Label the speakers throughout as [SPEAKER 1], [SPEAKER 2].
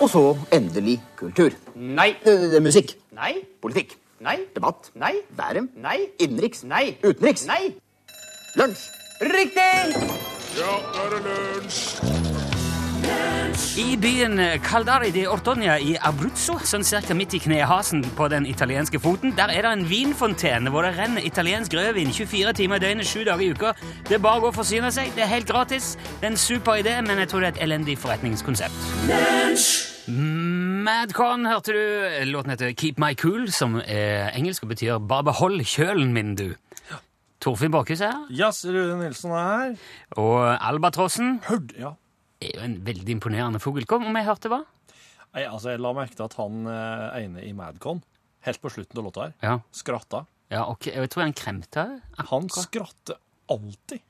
[SPEAKER 1] Og så endelig kultur.
[SPEAKER 2] Nei.
[SPEAKER 1] Eh, eh, Musikk.
[SPEAKER 2] Nei.
[SPEAKER 1] Politikk.
[SPEAKER 2] Nei.
[SPEAKER 1] Debatt.
[SPEAKER 2] Nei.
[SPEAKER 1] Været.
[SPEAKER 2] Nei.
[SPEAKER 1] Innenriks.
[SPEAKER 2] Nei.
[SPEAKER 1] Utenriks.
[SPEAKER 2] Nei.
[SPEAKER 1] Lunsj.
[SPEAKER 2] Riktig!
[SPEAKER 3] Ja, nå er det lunsj!
[SPEAKER 4] I byen Caldari di Ortonia i Abruzzo, sånn cirka midt i knehasen på den italienske foten, der er det en vinfontene hvor det renner italiensk rødvin 24 timer i døgnet, 7 dager i uka. Det er bare å gå og forsyne seg. Det er helt gratis. Det er en super idé, men jeg tror det er et elendig forretningskonsept. Madcon, hørte du? Låten heter Keep My Cool, som er engelsk og betyr Bare behold kjølen min, du. Torfinn Bakhus er her,
[SPEAKER 5] Jazz Rune Nilsen er her.
[SPEAKER 4] og Albatrossen
[SPEAKER 5] Hørd, ja.
[SPEAKER 4] er jo en veldig imponerende fugl. Kom, om jeg hørte hva?
[SPEAKER 5] Nei, altså, jeg la merke til at han eh, ene i Madcon, helt på slutten av låta her,
[SPEAKER 4] Ja.
[SPEAKER 5] skratta.
[SPEAKER 4] Ja, ok. Jeg tror han kremte òg.
[SPEAKER 5] Han skratter alltid.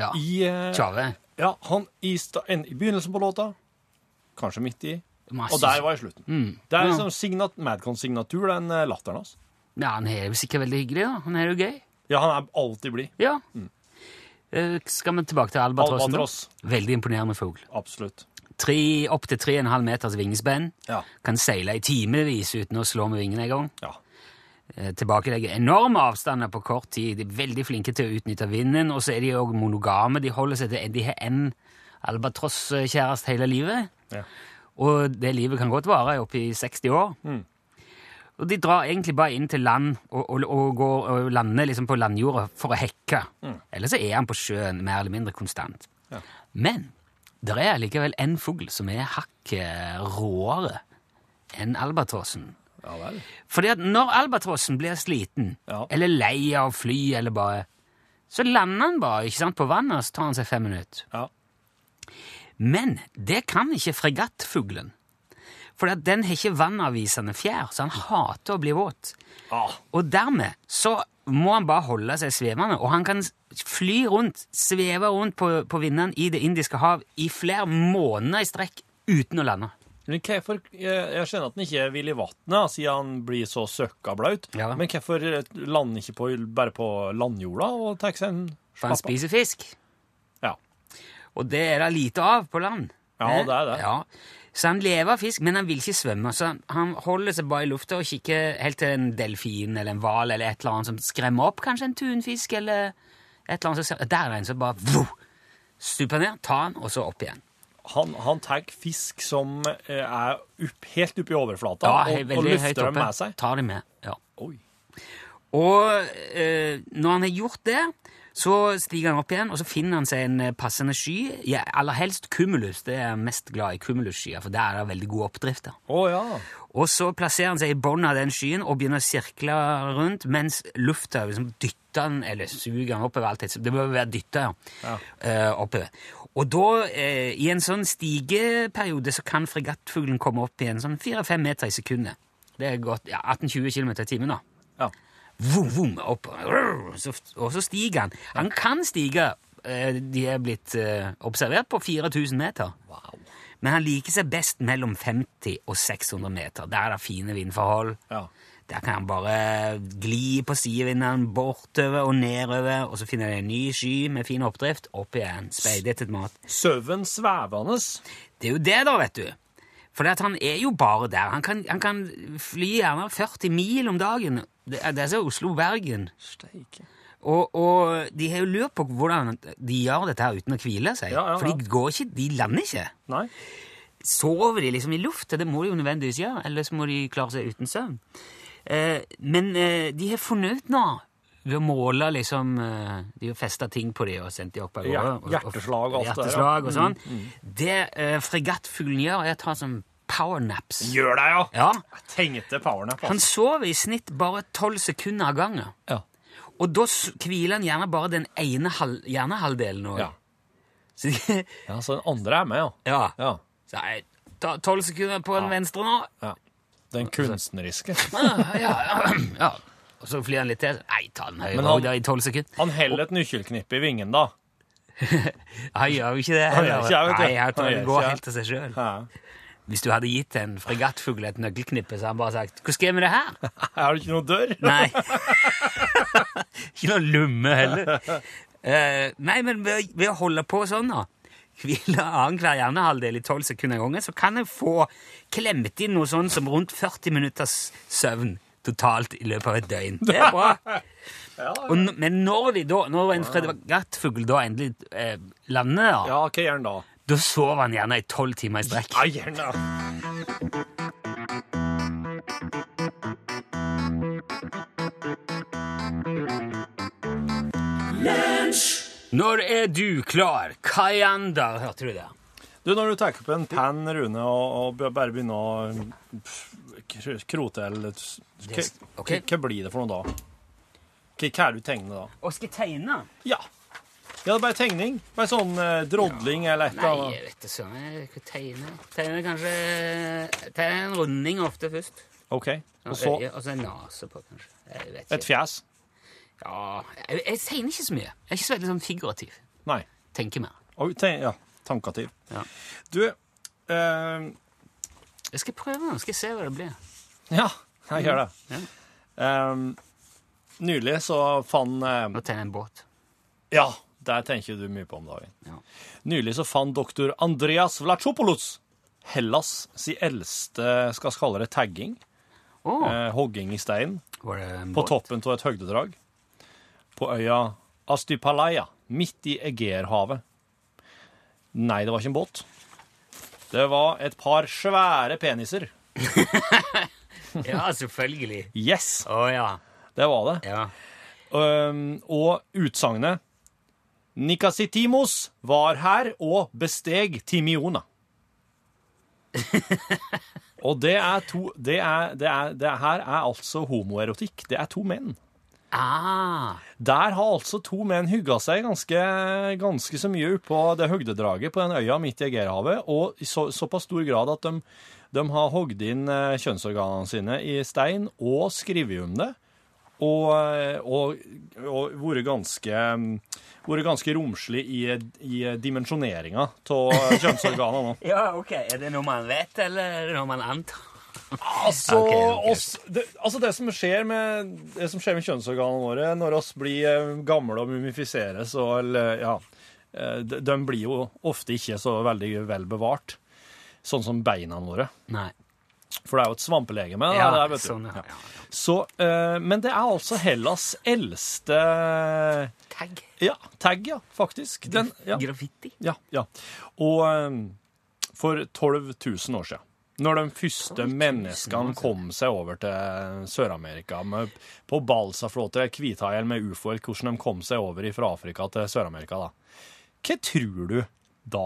[SPEAKER 4] Ja.
[SPEAKER 5] I, eh,
[SPEAKER 4] Tjave.
[SPEAKER 5] ja, han i, sta, en, i begynnelsen på låta, kanskje midt i,
[SPEAKER 4] Masse-
[SPEAKER 5] og der var i slutten. Det er
[SPEAKER 4] Mm. Ja.
[SPEAKER 5] liksom signat, Madcon-signatur, den eh, latteren hans.
[SPEAKER 4] Ja, han er jo sikkert veldig hyggelig, da. Han er jo gøy.
[SPEAKER 5] Ja, han er alltid blid.
[SPEAKER 4] Ja. Eh, Skal vi tilbake til albatrossen? da?
[SPEAKER 5] Mm. Albatross.
[SPEAKER 4] Veldig imponerende fugl.
[SPEAKER 5] Absolutt.
[SPEAKER 4] Tre- Opptil 3,5 meters vingespenn.
[SPEAKER 5] Ja.
[SPEAKER 4] Kan seile i timevis uten å slå med vingene engang.
[SPEAKER 5] Ja.
[SPEAKER 4] Eh, Tilbakelegger enorme avstander på kort tid. De er veldig flinke til å utnytte vinden. Og så er de òg monogame. De holder seg til de har én albatrosskjæreste hele livet.
[SPEAKER 5] Ja.
[SPEAKER 4] Og det livet kan godt vare oppi 60 år. Og de drar egentlig bare inn til land og, og, og, går, og lander liksom på landjorda for å hekke. Eller så er han på sjøen mer eller mindre konstant. Men det er likevel en fugl som er hakket råere enn albatrossen.
[SPEAKER 5] Ja vel.
[SPEAKER 4] Fordi at når albatrossen blir sliten,
[SPEAKER 5] Ja.
[SPEAKER 4] eller lei av å fly, eller bare Så lander han bare ikke sant, på vannet, og så tar han seg fem minutter.
[SPEAKER 5] Ja.
[SPEAKER 4] Men det kan ikke fregattfuglen. For at den har ikke vannavvisende fjær, så han hater å bli våt.
[SPEAKER 5] Ah,
[SPEAKER 4] Og dermed så må han bare holde seg svevende, og han kan s- fly rundt, sveve rundt på, på vindene i Det indiske hav i flere måneder i strekk uten å lande.
[SPEAKER 5] Men hvorfor, jeg, jeg skjønner at den ikke vil i vannet, siden han blir så søkkablaut.
[SPEAKER 4] Ja.
[SPEAKER 5] Men hvorfor lander den ikke på, bare på landjorda og tar seg en
[SPEAKER 4] For han
[SPEAKER 5] slappa?
[SPEAKER 4] spiser fisk.
[SPEAKER 5] Ja.
[SPEAKER 4] Og det er det lite av på land.
[SPEAKER 5] Ja,
[SPEAKER 4] Eh?
[SPEAKER 5] det er det.
[SPEAKER 4] Ja. Så han lever av fisk, men han vil ikke svømme. Så han- han holder seg bare i lufta og kikker helt til en delfin eller en hval eller et eller annet som skremmer opp. Kanskje en tunfisk eller et eller annet. som ser- Der er det en som bare vo, stuper ned, tar han, og så opp igjen.
[SPEAKER 5] Han, han tar fisk som eh, er opp, helt oppe i overflata,
[SPEAKER 4] Ja,
[SPEAKER 5] og, og
[SPEAKER 4] veldig høyt
[SPEAKER 5] løfter dem
[SPEAKER 4] oppe.
[SPEAKER 5] med seg.
[SPEAKER 4] Tar de med, ja.
[SPEAKER 5] Oi.
[SPEAKER 4] Og eh, når han har gjort det, så stiger han opp igjen, og så finner han seg en eh, passende sky. Ja, aller helst cumulus. Det er jeg mest glad i cumulusskyer, for der er det veldig god oppdrift. da.
[SPEAKER 5] Å ja.
[SPEAKER 4] Og så plasserer han seg i bunnen av den skyen og begynner å sirkle rundt, mens lufta liksom dytter han, eller suger han oppover alt. Det bør være dytta, ja. eh, oppover. Og da, eh, i en sånn stigeperiode, så kan fregattfuglen komme opp i en sånn 4-5 meter i sekundet. Det er godt, ja, 18-20 km i timen, da.
[SPEAKER 5] Ja.
[SPEAKER 4] Vum, vum, opp. Rrr, så- Og så stiger han. Han kan stige. eh, De er blitt eh, observert på 4000 meter. Men han liker seg best mellom 50 og 600 meter. Der er det fine vindforhold.
[SPEAKER 5] ja.
[SPEAKER 4] Der kan han bare gli på sidevinden bortover og nedover, og så finner han en ny sky med fin oppdrift. Opp igjen. Speidet etter mat.
[SPEAKER 5] Søven svevende.
[SPEAKER 4] Det er jo det, da, vet du. For det at han er jo bare der. Han kan, han kan fly gjerne 40 mil om dagen. Det er, det er så Oslo-Bergen. Og, og de har jo lurt på hvordan de gjør dette her uten å hvile seg.
[SPEAKER 5] Ja, ja, ja.
[SPEAKER 4] For de går ikke, de lander ikke.
[SPEAKER 5] Nei.
[SPEAKER 4] Sover de liksom i lufta? Det må de jo nødvendigvis gjøre, ellers må de klare seg uten søvn. Eh, men eh, de har funnet ut nå, ved å måle liksom eh, De har festa ting på de og sendt de opp av gårde.
[SPEAKER 5] Hjert- hjerteslag og alt det der, ja. Mm,
[SPEAKER 4] Hjerteslag og sånn. Det eh, fregattfuglen gjør, er å ta sånn powernaps.
[SPEAKER 5] Gjør det, ja.
[SPEAKER 4] Ja.
[SPEAKER 5] Jeg tenkte powernap.
[SPEAKER 4] Han
[SPEAKER 5] Altså.
[SPEAKER 4] sover i snitt bare tolv sekunder av gangen.
[SPEAKER 5] Ja.
[SPEAKER 4] Og da s- hviler han gjerne bare den ene hal hjernehalvdelen. også.
[SPEAKER 5] Ja.
[SPEAKER 4] Så de,
[SPEAKER 5] ja, så den andre er med, ja.
[SPEAKER 4] ja.
[SPEAKER 5] ja.
[SPEAKER 4] Så jeg tar tolv sekunder på den venstre nå.
[SPEAKER 5] Den kunstneriske.
[SPEAKER 4] Ja, ja, ja. Og så flyr han litt til. Nei, ta den høyre
[SPEAKER 5] Men
[SPEAKER 4] han,
[SPEAKER 5] han-
[SPEAKER 4] i tolv sekunder.
[SPEAKER 5] Han heller et nøkkelknippe i vingen, da.
[SPEAKER 4] Han gjør jo ikke det.
[SPEAKER 5] gjør ikke det, vet du.
[SPEAKER 4] Nei, jeg tror det
[SPEAKER 5] Han gjør ikke
[SPEAKER 4] går
[SPEAKER 5] det.
[SPEAKER 4] helt til seg sjøl.
[SPEAKER 5] Ja.
[SPEAKER 4] Hvis du hadde gitt en fregattfugl et nøkkelknippe, så hadde han bare sagt 'Hva skal jeg med det her?'
[SPEAKER 5] Er det ikke noe dør?
[SPEAKER 4] Nei. ikke noe lumme heller. Eh, nei, men ved, ved å holde på sånn, da hvile annenhver hjernehalvdel i 12 sekunder av gangen, så kan jeg få klemt inn noe sånn som rundt 40 minutters søvn totalt i løpet av et døgn. Det er bra. Og, n- men når, de da, når en fregattfugl da endelig eh, lander, da,
[SPEAKER 5] Ja, hva gjør han da?
[SPEAKER 4] da sover han gjerne i tolv timer i strekk.
[SPEAKER 5] Nei, gjør han da?
[SPEAKER 4] Når er du klar? Kajander, hørte du det?
[SPEAKER 5] Du, når du tar opp en penn, Rune, og, og bare begynner å pff, kr- krote eller s- Hva
[SPEAKER 4] Det- ok.
[SPEAKER 5] hva blir det for noe da? Hva hva er det du tegner da?
[SPEAKER 4] Og skal jeg tegne?
[SPEAKER 5] Ja. Ja, det er bare tegning. Bare sånn eh, drodling eller et
[SPEAKER 4] Nei,
[SPEAKER 5] eller
[SPEAKER 4] jeg
[SPEAKER 5] annet.
[SPEAKER 4] vet ikke søren. Jeg skal tegne. Tegne kanskje Tegne en runding ofte først.
[SPEAKER 5] OK. Og så
[SPEAKER 4] øye, og så en nase på, kanskje. Jeg vet
[SPEAKER 5] et
[SPEAKER 4] ikke.
[SPEAKER 5] fjes.
[SPEAKER 4] Ja, jeg, jeg tegner ikke så mye. Jeg er ikke så veldig sånn figurativ.
[SPEAKER 5] Nei.
[SPEAKER 4] Tenker mer.
[SPEAKER 5] Og te- ja, tankativ.
[SPEAKER 4] Ja.
[SPEAKER 5] Du eh,
[SPEAKER 4] Jeg skal prøve nå. Skal jeg se hva det blir.
[SPEAKER 5] Ja, jeg gjør det.
[SPEAKER 4] Mm, Ja.
[SPEAKER 5] Ehm, nylig så fant eh,
[SPEAKER 4] Nå tegner jeg en båt.
[SPEAKER 5] Ja, der tenker du mye på om dagen.
[SPEAKER 4] Ja.
[SPEAKER 5] Nylig så fant doktor Andreas Vlachopoulos Hellas si eldste, skal vi kalle det, tagging.
[SPEAKER 4] Å,
[SPEAKER 5] Eh, hogging i stein.
[SPEAKER 4] var det en
[SPEAKER 5] På
[SPEAKER 4] båt?
[SPEAKER 5] toppen av et høgdedrag. På øya Astypalaia, midt i Egeerhavet. Nei, det var ikke en båt. Det var et par svære peniser.
[SPEAKER 4] Ja, selvfølgelig.
[SPEAKER 5] Yes,
[SPEAKER 4] Å ja.
[SPEAKER 5] det var det.
[SPEAKER 4] Ja.
[SPEAKER 5] Um, og utsagnet Nikasitimos var her og besteg Timiona. og det er to det er, det er, det Her er altså homoerotikk. Det er to menn.
[SPEAKER 4] Ah,
[SPEAKER 5] Der har altså to menn hygga seg ganske, ganske så mye på det høgdedraget på den øya midt i Egeerhavet, og i så, såpass stor grad at de, de har hogd inn eh, kjønnsorganene sine i stein og skrevet om det. Og, eh, og, og vært ganske, mm, vært ganske romslig i, i dimensjoneringa av kjønnsorganene. nå.
[SPEAKER 4] ja, ok. Er det noe man vet, eller er det noe man antar?
[SPEAKER 5] Altså,
[SPEAKER 4] Ok, ok.
[SPEAKER 5] oss, det, altså det, som skjer med, det som skjer med kjønnsorganene våre når oss blir eh, gamle og mumifiseres, og, eller, ja, eh, de, de blir jo ofte ikke så veldig vel bevart, sånn som beina våre.
[SPEAKER 4] Nei.
[SPEAKER 5] For det er jo et svampelegeme. da,
[SPEAKER 4] Ja,
[SPEAKER 5] det der, vet du.
[SPEAKER 4] sånn, ja.
[SPEAKER 5] Ja. Så, eh, men det er altså Hellas eldste
[SPEAKER 4] Tagg.
[SPEAKER 5] ja, tag, ja, faktisk. Den, ja.
[SPEAKER 4] Graffiti.
[SPEAKER 5] Ja, ja. Og eh, for 12 000 år siden, når de første
[SPEAKER 4] 12 000 år
[SPEAKER 5] menneskene
[SPEAKER 4] siden.
[SPEAKER 5] kom seg over til Sør-Amerika med, på balsaflåter, hvithaier med ufoer, hvordan de kom seg over fra Afrika til Sør-Amerika, da. Hva tror du da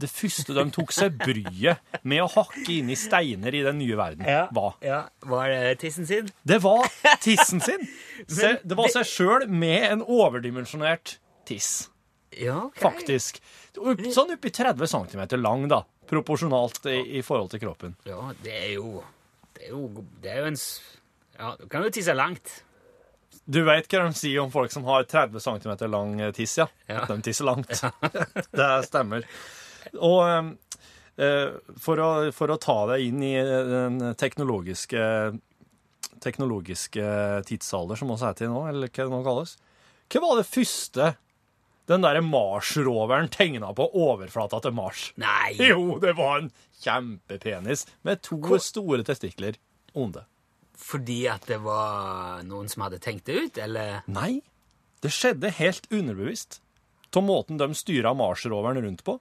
[SPEAKER 5] det første de tok seg bryet med å hakke inn i steiner i den nye verden, var?
[SPEAKER 4] Ja. Var det tissen sin?
[SPEAKER 5] Det var tissen sin! Se, det var seg sjøl med en overdimensjonert tiss
[SPEAKER 4] Ja, ok.
[SPEAKER 5] faktisk. Opp, sånn oppi 30 cm lang, da. Proporsjonalt i, i forhold til kroppen.
[SPEAKER 4] Ja, det er jo Det er jo, det er jo en s- Ja, du kan jo tisse langt.
[SPEAKER 5] Du veit hva de sier om folk som har 30 cm lang eh, tiss, ja?
[SPEAKER 4] Ja.
[SPEAKER 5] At de tisser langt. det stemmer. Og eh, eh, for, å, for å ta deg inn i eh, den teknologiske teknologiske tidsalder, som vi er til nå, eller hva det nå kalles Hva var det første den derre Mars-roveren tegna på overflata til Mars?
[SPEAKER 4] Nei!
[SPEAKER 5] Jo, det var en kjempepenis med to store testikler under.
[SPEAKER 4] Fordi at det var noen som hadde tenkt det ut, eller?
[SPEAKER 5] Nei, det skjedde helt underbevisst. Til måten de styra Mars-roveren rundt på.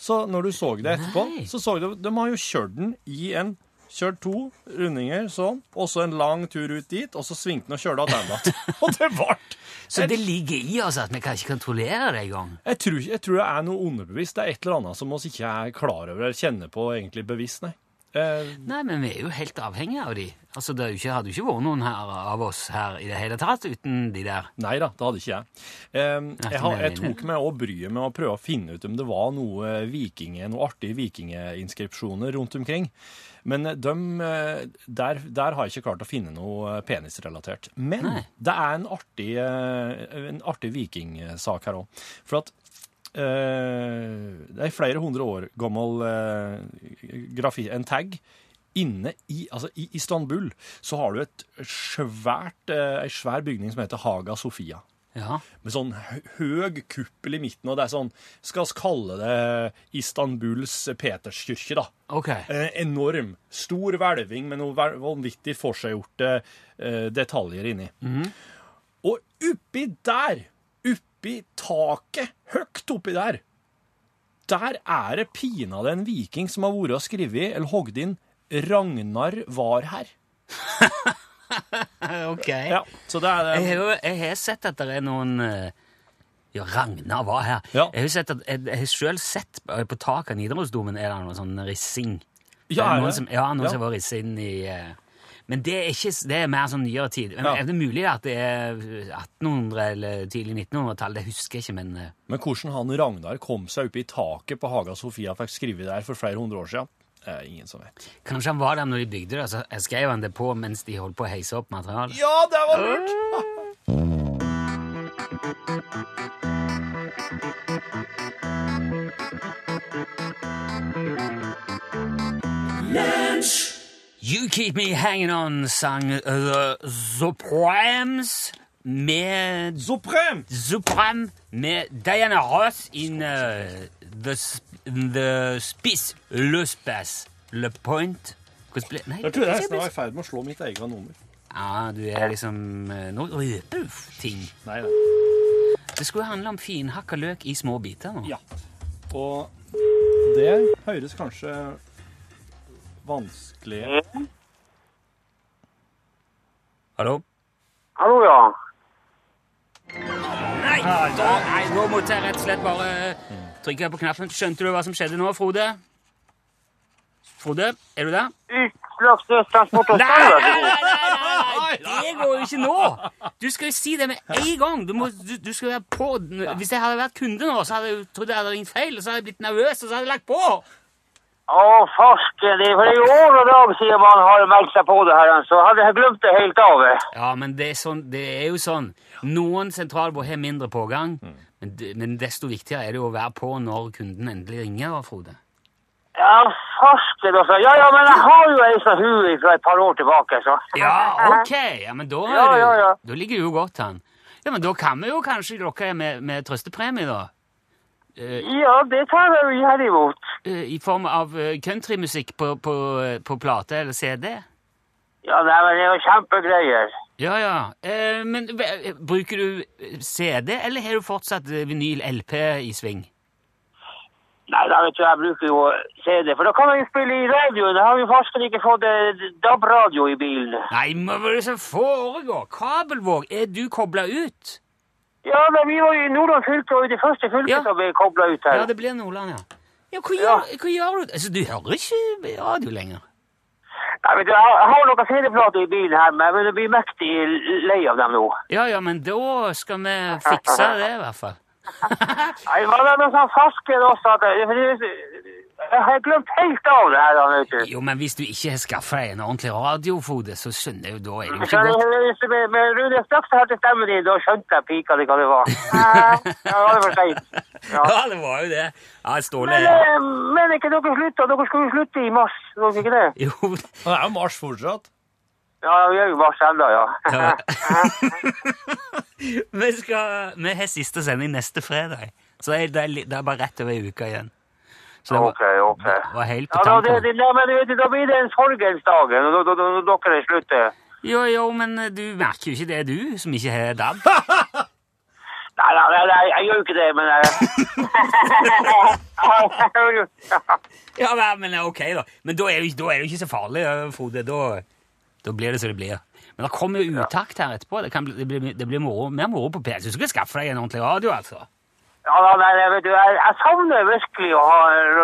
[SPEAKER 5] Så når du så det etterpå,
[SPEAKER 4] Nei.
[SPEAKER 5] så så du De har jo kjørt den i en Kjørt to rundinger sånn, og så en lang tur ut dit, og så svingte den og kjørte tilbake. og det vart!
[SPEAKER 4] Så det ligger i oss at vi kan ikke kontrollere det engang?
[SPEAKER 5] Jeg tror, ikke- jeg tror det er noe underbevisst. Det er et eller annet som oss ikke er klar over eller kjenner på egentlig bevisst, nei. Eh,
[SPEAKER 4] Nei, men vi er jo helt avhengige av de. Altså, Det er jo ikke, hadde jo ikke vært noen her av oss her i det hele tatt uten de der.
[SPEAKER 5] Nei da, det hadde ikke jeg. Ehm,
[SPEAKER 4] Nei,
[SPEAKER 5] jeg, har,
[SPEAKER 4] det er
[SPEAKER 5] jeg
[SPEAKER 4] jeg enig
[SPEAKER 5] tok meg også bryet med å prøve å finne ut om det var noe vikinge, noe artige vikingeinskripsjoner rundt omkring. Men eh, dem, eh, der, der har jeg ikke klart å finne noe eh, penisrelatert. Men
[SPEAKER 4] Nei.
[SPEAKER 5] det er en artig, eh, en artig vikingsak her òg. For at eh, det er flere hundre år gammel eh, grafi, en tag. Inne i, altså i Istanbul så har du et svært, eh, ei svær bygning som heter Haga Sofia.
[SPEAKER 4] Ja.
[SPEAKER 1] med sånn hø- høg kuppel i midten, og det er sånn, skal vi kalle det Istanbuls Peterskyrkje, da.
[SPEAKER 4] Ok.
[SPEAKER 1] Eh, enorm, stor hvelving med noe vel- vanvittig forseggjorte eh, detaljer inni.
[SPEAKER 4] Mhm.
[SPEAKER 1] Og oppi der, oppi taket, høyt oppi der, der er det pinadø en viking som har vært og skrevet, eller hogd inn, 'Ragnar var her'.
[SPEAKER 4] Ok.
[SPEAKER 1] Ja, så det er
[SPEAKER 4] Eh. Jeg har, jo- jeg har sett at det er noen eh, Ja, Ragnar var her.
[SPEAKER 1] Ja.
[SPEAKER 4] Jeg har sett at, jeg, jeg har selv sett eh, på taket av Nidarosdomen er det noe sånn rissing.
[SPEAKER 1] Ja,
[SPEAKER 4] Det
[SPEAKER 1] er
[SPEAKER 4] er noen
[SPEAKER 1] det?
[SPEAKER 4] Som, ja, noen
[SPEAKER 1] Ja.
[SPEAKER 4] som var risset inn i eh, Men det er, ikke, s- det er mer sånn nyere tid. Men
[SPEAKER 1] Ja.
[SPEAKER 4] Er det mulig at det er 1800- eller tidlig 1900-tall? Det husker jeg ikke, men eh,
[SPEAKER 1] Men hvordan han Ragnar kom seg opp i taket på Haga Sofia fikk skrive der for flere hundre år siden, er det ingen som vet.
[SPEAKER 4] kanskje han var der når de bygde det. Så jeg skrev han det på mens de holdt på å heise opp materialet.
[SPEAKER 1] Ja, det var lurt!
[SPEAKER 4] You Keep Me Hanging On sang eh, The Supremes med
[SPEAKER 1] Suprem!
[SPEAKER 4] Supreme med Diana Ross in uh, the, sp- the Spiss Le Space Le Point. Hvordan ble Nei,
[SPEAKER 1] Jeg tror jeg nesten var i ferd med å slå mitt eget nummer.
[SPEAKER 4] Ja, du er liksom eh, Nå røper du ting.
[SPEAKER 1] Nei, nei.
[SPEAKER 4] Det skulle handle om finhakka løk i små biter. nå.
[SPEAKER 1] Ja. Og det høres kanskje vanskelig
[SPEAKER 4] Hallo?
[SPEAKER 6] Hallo, ja.
[SPEAKER 4] Nei! Da, nei, nå måtte jeg rett og slett bare eh, trykke på knappen. Skjønte du hva som skjedde nå, Frode? Frode, er du der?
[SPEAKER 6] Utslagsdødstransport og
[SPEAKER 4] Nei,
[SPEAKER 6] standard.
[SPEAKER 4] nei, nei, nei, nei, det går jo ikke nå! Du skal jo si det med en gang. Du, må, du, du skal være på. Hvis jeg hadde vært kunde nå, så hadde jeg jo trodd jeg hadde ringt feil, og så hadde jeg blitt nervøs, og så hadde jeg lagt på.
[SPEAKER 6] Å, farsken, det er for det er jo år og dag siden man har meldt seg på det her, så hadde jeg glemt det helt av. eh.
[SPEAKER 4] Ja, men det er, sånn, det er jo sånn. Noen sentralbord har mindre pågang, men, d- men desto viktigere er det jo å være på når kunden endelig ringer, Frode.
[SPEAKER 6] Ja, farsken også. Ja, ja, men jeg har jo ei fra huet fra et par år tilbake, så.
[SPEAKER 4] Ja, ok! Ja, men da, er
[SPEAKER 6] Ja,
[SPEAKER 4] du-
[SPEAKER 6] ja, ja.
[SPEAKER 4] da ligger du jo godt an. Ja, men da kan vi jo kanskje lokke deg med, med trøstepremie, da.
[SPEAKER 6] Ja, det tar jeg jo gjerne imot.
[SPEAKER 4] Eh, I form av eh, countrymusikk på, på, eh, på plate eller CD.
[SPEAKER 6] Ja, nei, men det er jo kjempegreier.
[SPEAKER 4] Ja, ja. Eh, men eh, bruker du CD, eller har du fortsatt eh, vinyl-LP i sving?
[SPEAKER 6] Nei, da vet du, jeg bruker jo CD, for da kan man jo spille i radioen. Da har vi farsken ikke fått eh, DAB-radio i bilen.
[SPEAKER 4] Nei, men hva er det som foregår? Kabelvåg, er du kobla ut?
[SPEAKER 6] Ja, da, vi var jo i Nordland fylke, og i det første fylket
[SPEAKER 4] Ja.
[SPEAKER 6] som ble kobla ut her.
[SPEAKER 4] Ja, det blir Nordland, ja. Ja, hva
[SPEAKER 6] Ja.
[SPEAKER 4] gjør, Hva gjør du? Altså, du hører ikke radio lenger.
[SPEAKER 6] Nei, vet du, jeg har- jeg har noen CD-plater i bilen her, men jeg begynner å bli mektig lei av dem nå.
[SPEAKER 4] Ja, ja, men da skal vi fikse det, i hvert fall.
[SPEAKER 6] Nei, det var noe sånn fasken også, at jeg, for det- jeg har glemt helt av det her, da, vet du.
[SPEAKER 4] Jo, men hvis du ikke har skaffa deg en ordentlig radiofode, så skjønner jeg jo da er det jo ikke
[SPEAKER 6] Så
[SPEAKER 4] godt.
[SPEAKER 6] jeg- jeg- med, med Rune straks jeg hørte stemmen din, da skjønte jeg pika det hva det var. Ja, det var for sent. Ja.
[SPEAKER 4] Ja, det var jo det. Ja, Ståle
[SPEAKER 6] Men, eh, men ikke dere slutta? Dere skulle jo slutte i mars, var dere ikke det?
[SPEAKER 4] Jo,
[SPEAKER 1] Han er jo Mars fortsatt.
[SPEAKER 6] Ja, vi er jo i mars ennå, ja.
[SPEAKER 4] Ja. vi, skal, vi har siste sending neste fredag, så det er, det er, li- det er bare rett over ei uke igjen. Så det var,
[SPEAKER 6] Ok, ok.
[SPEAKER 4] var helt
[SPEAKER 6] Ja,
[SPEAKER 4] på
[SPEAKER 6] da, det,
[SPEAKER 4] tampen.
[SPEAKER 6] det, nei, men du vet, da blir det en sorgens dag når når- når- når dere slutter.
[SPEAKER 4] Jo, jo, men eh, du merker jo ikke det, du, som ikke har DAB.
[SPEAKER 6] Nei, nei, nei, nei, jeg gjør jo ikke det, men jeg... Jeg hører jo-
[SPEAKER 4] Ja, nei, men eh, ok, da. Men da er det jo ikke- da er det jo ikke så farlig, eh, Frode. Da, da blir det som det blir. Men det kommer jo utakt her etterpå. Det, kan bli, det blir, det blir moro, mer moro på PC. Du skal skaffe deg en ordentlig radio, altså.
[SPEAKER 6] Ja, da, nei, nei, vet du, jeg, jeg savner virkelig å ha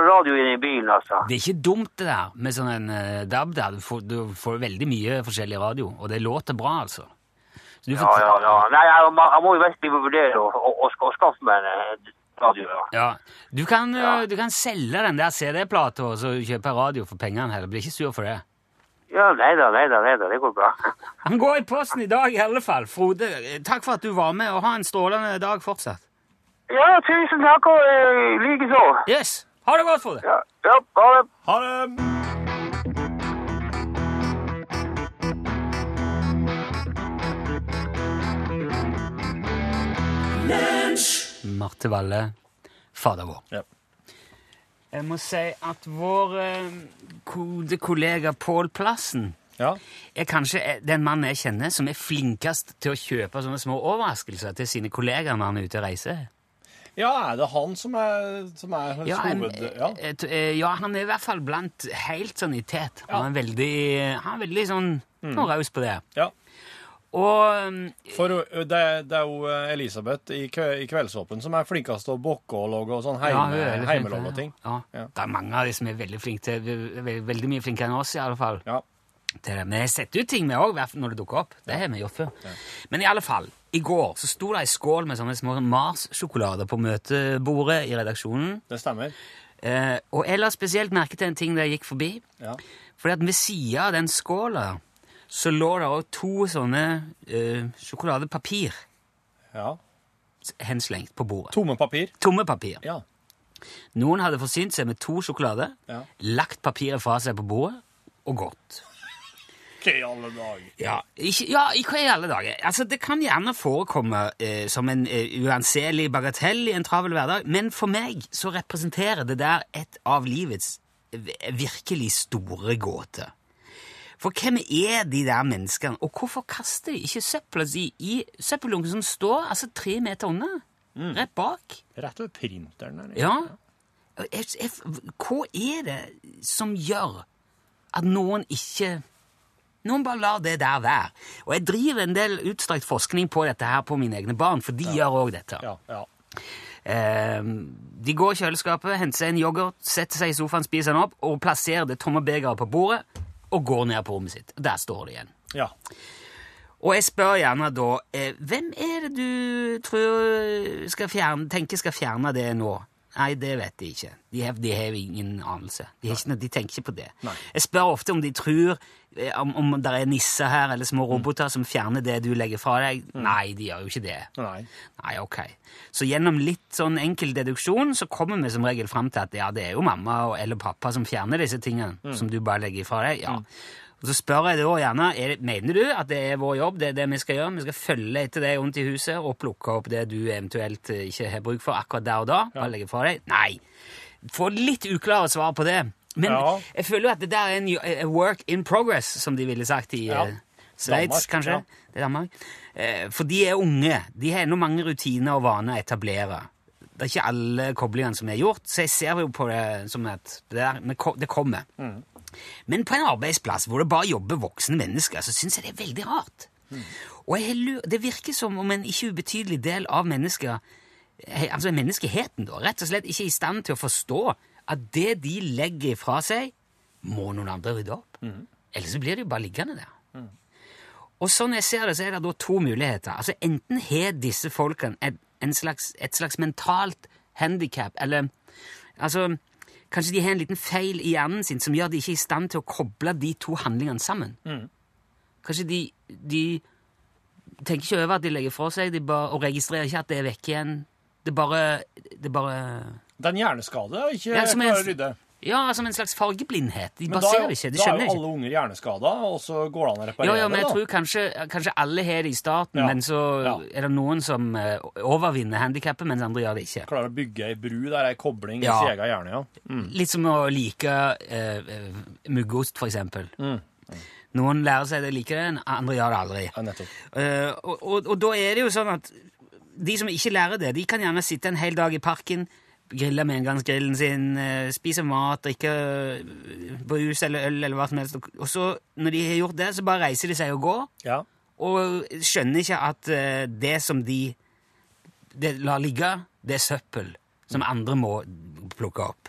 [SPEAKER 6] radio inne i bilen, altså.
[SPEAKER 4] Det er ikke dumt, det der, med sånn en eh, DAB der. Du får, du får veldig mye forskjellig radio, og det låter bra, altså. Så du
[SPEAKER 6] Ja, ja, ja. Nei, jeg, må- jeg må jo virkelig vurdere å, å, å, ska- å skaffe meg en eh, radio, ja.
[SPEAKER 4] Ja. Du kan, øh,
[SPEAKER 6] Ja.
[SPEAKER 4] du kan selge den der CD-plata og så kjøpe radio for pengene heller. Blir ikke sur for det.
[SPEAKER 6] Ja, nei da, nei da, nei da, det går bra.
[SPEAKER 4] Han går i posten i dag i alle fall. Frode, eh, takk for at du var med, og ha en strålende dag fortsatt.
[SPEAKER 6] Ja, tusen takk, og eh, like så.
[SPEAKER 4] Yes! Ha det godt, Frode!
[SPEAKER 6] Ja, ja, ha det.
[SPEAKER 1] Ha det!
[SPEAKER 4] Marte Valle, fader vår.
[SPEAKER 1] Ja.
[SPEAKER 4] Jeg må si at vår eh, kodekollega Pål Plassen
[SPEAKER 1] Ja.
[SPEAKER 4] er kanskje eh, den mannen jeg kjenner som er flinkest til å kjøpe sånne små overraskelser til sine kollegaer når han er ute og reiser.
[SPEAKER 1] ja, er det han som er, som er hans
[SPEAKER 4] Ja, en,
[SPEAKER 1] hoved... Ja.
[SPEAKER 4] eh, t- eh, ja, han er i hvert fall blant helt sånn i tet. Han er veldig, han er veldig sånn mm. raus på det.
[SPEAKER 1] ja.
[SPEAKER 4] Og mm,
[SPEAKER 1] For ø, det, det er jo eh, Elisabeth i, kø, i Kveldsåpen som er flinkest til å bokke og logge og sånn
[SPEAKER 4] Ja,
[SPEAKER 1] heime,
[SPEAKER 4] hun er veldig flink til
[SPEAKER 1] heimelogg og
[SPEAKER 4] det.
[SPEAKER 1] ting.
[SPEAKER 4] Ja.
[SPEAKER 1] Ja.
[SPEAKER 4] Det er mange av de som er veldig flinke til ve- ve- Veldig mye flinkere enn oss, i alle fall.
[SPEAKER 1] Ja.
[SPEAKER 4] Til det. Men jeg setter ut ting med òg, når det dukker opp. Det har vi gjort før. Men i alle fall, i går så sto det ei skål med sånne små Mars-sjokolader på møtebordet i redaksjonen.
[SPEAKER 1] Det stemmer.
[SPEAKER 4] Eh, og jeg la spesielt merke til en ting da jeg gikk forbi.
[SPEAKER 1] Ja.
[SPEAKER 4] Fordi at ved sida av den skåla så lå det òg to sånne eh, sjokoladepapir
[SPEAKER 1] ja.
[SPEAKER 4] henslengt på bordet.
[SPEAKER 1] Tomme papir.
[SPEAKER 4] Tomme papir.
[SPEAKER 1] Ja.
[SPEAKER 4] Noen hadde forsynt seg med to sjokolader,
[SPEAKER 1] Ja.
[SPEAKER 4] lagt papiret fra seg på bordet og gått.
[SPEAKER 1] Hva i alle dager?
[SPEAKER 4] Ja, ikke, ja, i hva i alle dager? Altså, Det kan gjerne forekomme eh, som en eh, uanselig bagatell i en travel hverdag, men for meg så representerer det der et av livets v- virkelig store gåter. For hvem er de der menneskene, og hvorfor kaster de ikke søpla si i søppeldunken som står altså tre meter unna? Rett bak?
[SPEAKER 1] Rett ved printeren her.
[SPEAKER 4] Ja. Og Jeg, jeg, hva er det som gjør at noen ikke Noen bare lar det der være. Og jeg driver en del utstrakt forskning på dette her på mine egne barn, for de gjør òg dette.
[SPEAKER 1] Ja, ja.
[SPEAKER 4] Eh, de går i kjøleskapet, henter seg en yoghurt, setter seg i sofaen, spiser den opp og plasserer det tomme begeret på bordet og går ned på rommet sitt. Der står det igjen.
[SPEAKER 1] ja.
[SPEAKER 4] Og jeg spør gjerne da eh, Hvem er det du tror skal fjerne, tenker skal fjerne det nå? Nei, det vet de ikke. De har, de har ingen anelse. De, har ikke, noe- de tenker ikke på det.
[SPEAKER 1] Nei.
[SPEAKER 4] Jeg spør ofte om de tror eh, om, om det er nisser her eller
[SPEAKER 1] Mm.
[SPEAKER 4] små roboter som fjerner det du legger fra deg. Nei, de gjør jo ikke det.
[SPEAKER 1] Nei.
[SPEAKER 4] Nei, ok. Så gjennom litt sånn enkel deduksjon så kommer vi som regel fram til at ja, det er jo mamma og, eller pappa som fjerner disse tingene
[SPEAKER 1] Mm.
[SPEAKER 4] som du bare legger ifra deg. ja. Og Så spør jeg da gjerne er, det- mener du at det er vår jobb, det er det vi skal gjøre. Vi skal følge etter deg rundt i huset og plukke opp det du eventuelt eh, ikke har bruk for akkurat der og da. bare legge fra deg. Nei. Får litt uklare svar på det. Men
[SPEAKER 1] Ja.
[SPEAKER 4] jeg føler jo at det der er en jo- eh, work in progress, som de ville sagt i
[SPEAKER 1] Ja.
[SPEAKER 4] eh, Sveits,
[SPEAKER 1] Danmark,
[SPEAKER 4] kanskje?
[SPEAKER 1] ja.
[SPEAKER 4] Det er Danmark. Eh, for de er unge. De har ennå mange rutiner og vaner å etablere. Det er ikke alle koblingene som er gjort, så jeg ser jo på det som at det, der, men ko- det kommer.
[SPEAKER 1] Mm.
[SPEAKER 4] Men på en arbeidsplass hvor det bare jobber voksne mennesker, så syns jeg det er veldig rart.
[SPEAKER 1] Mm.
[SPEAKER 4] Og jeg har lu- det virker som om en ikke ubetydelig del av mennesker, he- altså menneskeheten, da, rett og slett ikke er i stand til å forstå at det de legger fra seg, må noen andre rydde opp.
[SPEAKER 1] Mm.
[SPEAKER 4] Ellers så blir det jo bare liggende der. Og sånn jeg ser det, så er det da to muligheter. Altså, Enten har disse folkene et, en slags, et slags mentalt handikap, eller altså, Kanskje de har en liten feil i hjernen sin som gjør de ikke er i stand til å koble de to handlingene sammen.
[SPEAKER 1] Mm.
[SPEAKER 4] Kanskje de, de tenker ikke over at de legger fra seg, de bare, og registrerer ikke at det er vekk igjen. Det bare, det bare
[SPEAKER 1] Den hjerneskade er ikke
[SPEAKER 4] Ja, som en-
[SPEAKER 1] klarer å rydde.
[SPEAKER 4] Ja, som en slags fargeblindhet. De
[SPEAKER 1] Men
[SPEAKER 4] bare
[SPEAKER 1] da
[SPEAKER 4] ser
[SPEAKER 1] er,
[SPEAKER 4] det
[SPEAKER 1] jo-
[SPEAKER 4] ikke. De
[SPEAKER 1] da er
[SPEAKER 4] skjønner
[SPEAKER 1] jo
[SPEAKER 4] ikke.
[SPEAKER 1] alle unger hjerneskada, og så går det an å reparere
[SPEAKER 4] Ja, ja, men
[SPEAKER 1] det,
[SPEAKER 4] jeg
[SPEAKER 1] da.
[SPEAKER 4] tror kanskje, kanskje alle har det i starten,
[SPEAKER 1] Ja.
[SPEAKER 4] men så
[SPEAKER 1] Ja.
[SPEAKER 4] er det noen som eh, overvinner handikappet, mens andre gjør det ikke.
[SPEAKER 1] Klarer å bygge ei bru der ei kobling
[SPEAKER 4] Ja.
[SPEAKER 1] i sin egen hjerne, ja.
[SPEAKER 4] Litt som å like eh, eh, muggost, for eksempel.
[SPEAKER 1] Mm.
[SPEAKER 4] Noen lærer seg det liker det, andre gjør det aldri.
[SPEAKER 1] ja nettopp.
[SPEAKER 4] Eh, og, og, og da er det jo sånn at de som ikke lærer det, de kan gjerne sitte en hel dag i parken, grille med engangsgrillen sin, eh, spise mat, drikke eh, brus eller øl eller hva som helst. Og så, når de har gjort det, så bare reiser de seg og går.
[SPEAKER 1] Ja.
[SPEAKER 4] og skjønner ikke at eh, det som de det lar ligge, det er søppel som andre må plukke opp.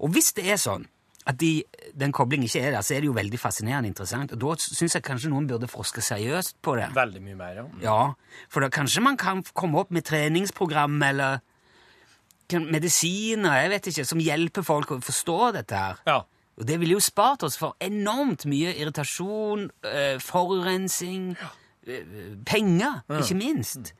[SPEAKER 4] Og hvis det er sånn at de, den koblingen ikke er der, så er det jo veldig fascinerende interessant. Og da syns jeg kanskje noen burde forske seriøst på det.
[SPEAKER 1] Veldig mye mer, ja.
[SPEAKER 4] Ja, for da kanskje man kan komme opp med treningsprogram eller kan- medisiner, jeg vet ikke, som hjelper folk å forstå dette her.
[SPEAKER 1] Ja.
[SPEAKER 4] Og det ville jo spart oss for enormt mye irritasjon, eh, forurensning, eh, penger, ikke minst.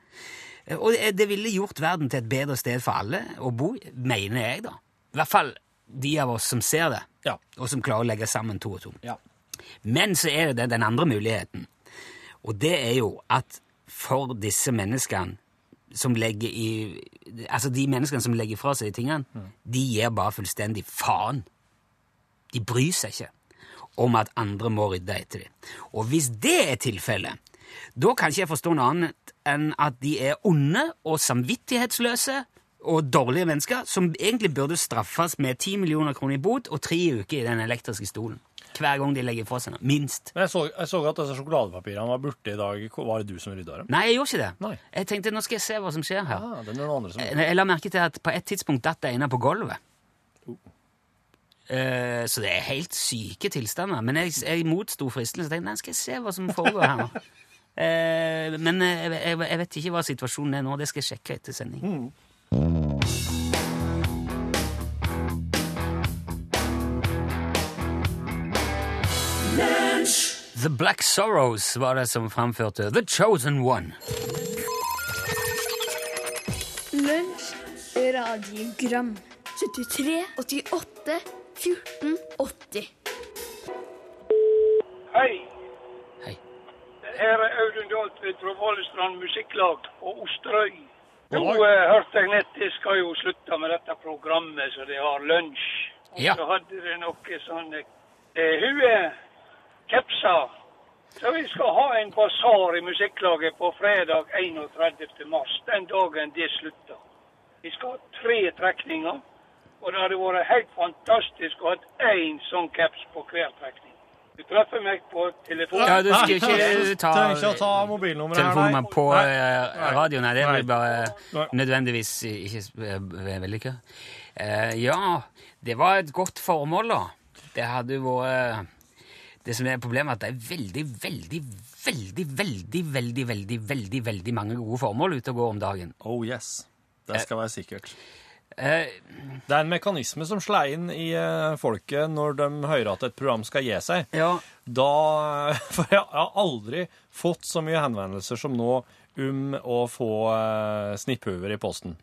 [SPEAKER 4] Eh, Og det- det ville gjort verden til et bedre sted for alle å bo, i, mener jeg, da. I hvert fall de av oss som ser det,
[SPEAKER 1] Ja.
[SPEAKER 4] og som klarer å legge sammen to og to.
[SPEAKER 1] ja.
[SPEAKER 4] Men så er det den- den andre muligheten, og det er jo at for disse menneskene som legger i Altså, de menneskene som legger fra seg tingene, de gir bare fullstendig faen. De bryr seg ikke om at andre må rydde etter dem. Og hvis det er tilfellet, da kan ikke jeg forstå noe annet enn at de er onde og samvittighetsløse og dårlige mennesker som egentlig burde straffes med 10 millioner kroner i bot og tre uker i den elektriske stolen. Hver gang de legger fra seg noe. Minst.
[SPEAKER 5] Men jeg så, jeg så at disse sjokoladepapirene var borte i dag. Var det du som rydda dem?
[SPEAKER 4] Nei, jeg gjorde ikke det.
[SPEAKER 5] Nei.
[SPEAKER 4] Jeg tenkte, nå skal jeg se hva som skjer her.
[SPEAKER 5] Ah, det er noen andre som...
[SPEAKER 4] Jeg jeg la merke til at på et tidspunkt datt det ene på gulvet. Eh, Så det er helt syke tilstander. Men jeg, jeg motsto fristelsen og tenkte nei, skal jeg se hva som foregår her nå. Eh, Men eh, jeg, jeg, jeg vet ikke hva situasjonen er nå. Det skal jeg sjekke etter sending. The Black Sorrows var det som framførte The Chosen One.
[SPEAKER 7] Lunsj radiogram 73 88 14 80
[SPEAKER 8] Hei,
[SPEAKER 4] Hei.
[SPEAKER 8] det her er Audun Dalt ved Tråvalestrand Musikklag på Osterøy. Nå
[SPEAKER 5] Oi.
[SPEAKER 8] eh, hørte jeg nett, de skal jo slutte med dette programmet så de har lunsj. Og
[SPEAKER 4] Ja.
[SPEAKER 8] så hadde de noe sånn eh, huekepser. Så vi skal ha en basar i Musikklaget på fredag 31. mars, den dagen det slutter. Vi skal ha tre trekninger, og det hadde vært helt fantastisk å ha én sånn caps på hver trekning. Du treffer meg på telefonen.
[SPEAKER 4] Ja, du skal ikke ta
[SPEAKER 5] Trenger ikke å ta mobilnummeret her,
[SPEAKER 4] telefonen
[SPEAKER 5] nei.
[SPEAKER 4] på
[SPEAKER 5] Nei.
[SPEAKER 4] eh, radioen. Nei, det er
[SPEAKER 5] Nei.
[SPEAKER 4] vel bare
[SPEAKER 5] Nei.
[SPEAKER 4] nødvendigvis ikke s- eh, vellykka. Eh, ja, det var et godt formål, da. Det hadde jo vært eh, Det som er problemet, er at det er veldig, veldig, veldig, veldig, veldig, veldig, veldig, veldig mange gode formål ute og går om dagen.
[SPEAKER 5] Oh yes. Det skal være sikkert.
[SPEAKER 4] Eh,
[SPEAKER 5] Det er en mekanisme som slår inn i eh, folket når de hører at et program skal gi seg.
[SPEAKER 4] ja,
[SPEAKER 5] Da, for jeg har aldri fått så mye henvendelser som nå om å få eh, snipphuver i posten.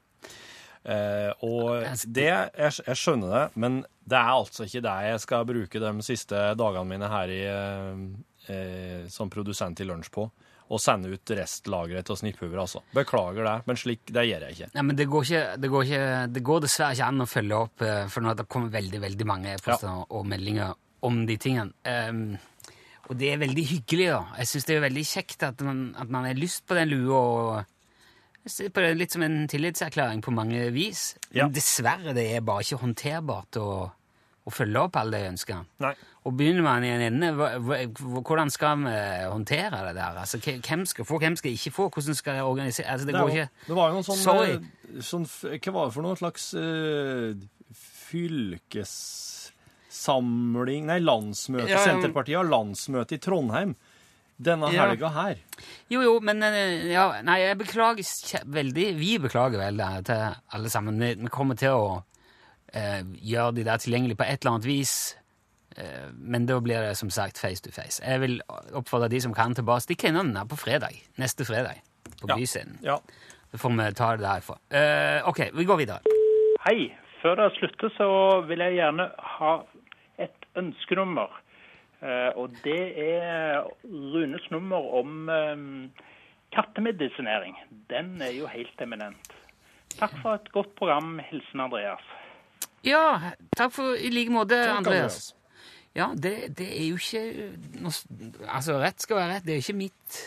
[SPEAKER 5] Eh, og det, jeg, jeg skjønner det, men det er altså ikke det jeg skal bruke de siste dagene mine her i, eh, eh, som produsent i lunsj på. Å sende ut restlageret av snipphuver, altså. Beklager det, men slik det gjør jeg ikke.
[SPEAKER 4] Nei, men det går, ikke, det, går ikke, det går dessverre ikke an å følge opp, eh, for nå har det kommet veldig veldig mange e-poster og meldinger om de tingene. Ehm, og det er veldig hyggelig, da. Jeg syns det er veldig kjekt at man, at man har lyst på den lua. og jeg ser på det Litt som en tillitserklæring på mange vis.
[SPEAKER 5] Ja.
[SPEAKER 4] Men dessverre, det er bare ikke håndterbart å, å følge opp alle de ønskene.
[SPEAKER 5] Nei.
[SPEAKER 4] Og begynner man i en ende, hva- hva- hvordan skal vi håndtere det der? Altså, hvem skal få, hvem skal ikke få? Hvordan skal jeg organisere Altså, det
[SPEAKER 5] Det,
[SPEAKER 4] går
[SPEAKER 5] er jo-
[SPEAKER 4] ikke
[SPEAKER 5] det var jo noen sånn,
[SPEAKER 4] Sorry.
[SPEAKER 5] eh, sånn f- Hva var det for noe slags eh, fylkessamling Nei, landsmøte.
[SPEAKER 4] Ja, ja.
[SPEAKER 5] Senterpartiet har landsmøte i Trondheim denne
[SPEAKER 4] Ja.
[SPEAKER 5] helga her.
[SPEAKER 4] Jo, jo, men eh, ja, Nei, jeg beklager kje- veldig. Vi beklager veldig til alle sammen. Vi, vi kommer til å eh, gjøre de der tilgjengelige på et eller annet vis. Eh, men da blir det som sagt face to face. Jeg vil oppfordre de som kan, til bare å stikke innom den her på fredag. Neste fredag. På
[SPEAKER 5] Ja.
[SPEAKER 4] Byscenen.
[SPEAKER 5] Ja.
[SPEAKER 4] Så får vi ta det derfra. Eh, ok, vi går videre.
[SPEAKER 9] Hei. Før det slutter, så vil jeg gjerne ha et ønskenummer. Eh, Og det er Runes nummer om eh, kattemedisinering. Den er jo helt eminent. Takk for et godt program. Hilsen Andreas.
[SPEAKER 4] Ja, takk for i like måte, Andreas.
[SPEAKER 5] Andreas.
[SPEAKER 4] Ja, det, det er jo ikke noe s- Altså, rett skal være rett. Det er jo ikke mitt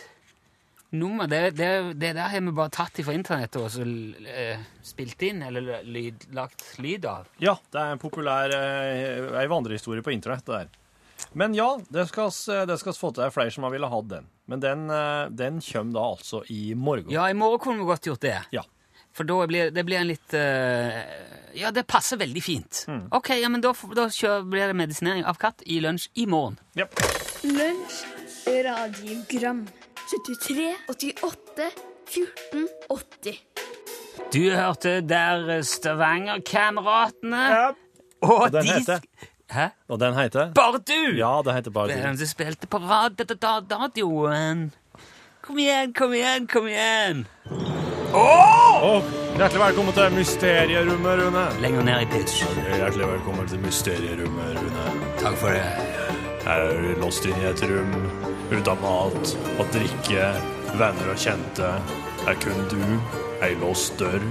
[SPEAKER 4] nummer. Det, det, det der har vi bare tatt ifra internettet og så l- eh, spilt inn, eller lyd, lagt lyd av.
[SPEAKER 5] Ja, det er en populær eh, ei vandrehistorie på internett, det der. Men ja, det skal oss- det skal oss få til. Det er flere som har villet ha den. Men den, eh, den kommer da altså i morgen.
[SPEAKER 4] Ja, i morgen kunne vi godt gjort det.
[SPEAKER 5] Ja.
[SPEAKER 4] For da blir det blir en litt eh, Ja, det passer veldig fint.
[SPEAKER 5] Mm.
[SPEAKER 4] Ok, ja, men da, f- da kjører, blir det medisinering av katt i lunsj i morgen.
[SPEAKER 5] Ja.
[SPEAKER 7] Lunsj radiogram 73 88 14 80
[SPEAKER 4] Du hørte der Stavanger-kameratene. Og
[SPEAKER 5] den
[SPEAKER 4] de
[SPEAKER 5] heter?
[SPEAKER 4] sk- Hæ?
[SPEAKER 5] Og den heter?
[SPEAKER 4] Bare du!
[SPEAKER 5] Ja, det heter bare
[SPEAKER 4] Hvem
[SPEAKER 5] du.
[SPEAKER 4] som spilte på rad- da- da- da- radioen? Kom igjen, kom igjen, kom igjen!
[SPEAKER 5] Og hjertelig velkommen til Mysterierommet, Rune.
[SPEAKER 4] Lenger ned i pitch.
[SPEAKER 5] Hjertelig velkommen til Mysterierommet, Rune.
[SPEAKER 4] Takk for det.
[SPEAKER 5] Her er du låst inn i et rom uten mat og drikke, venner og kjente. Det er kun du
[SPEAKER 10] ei låst dør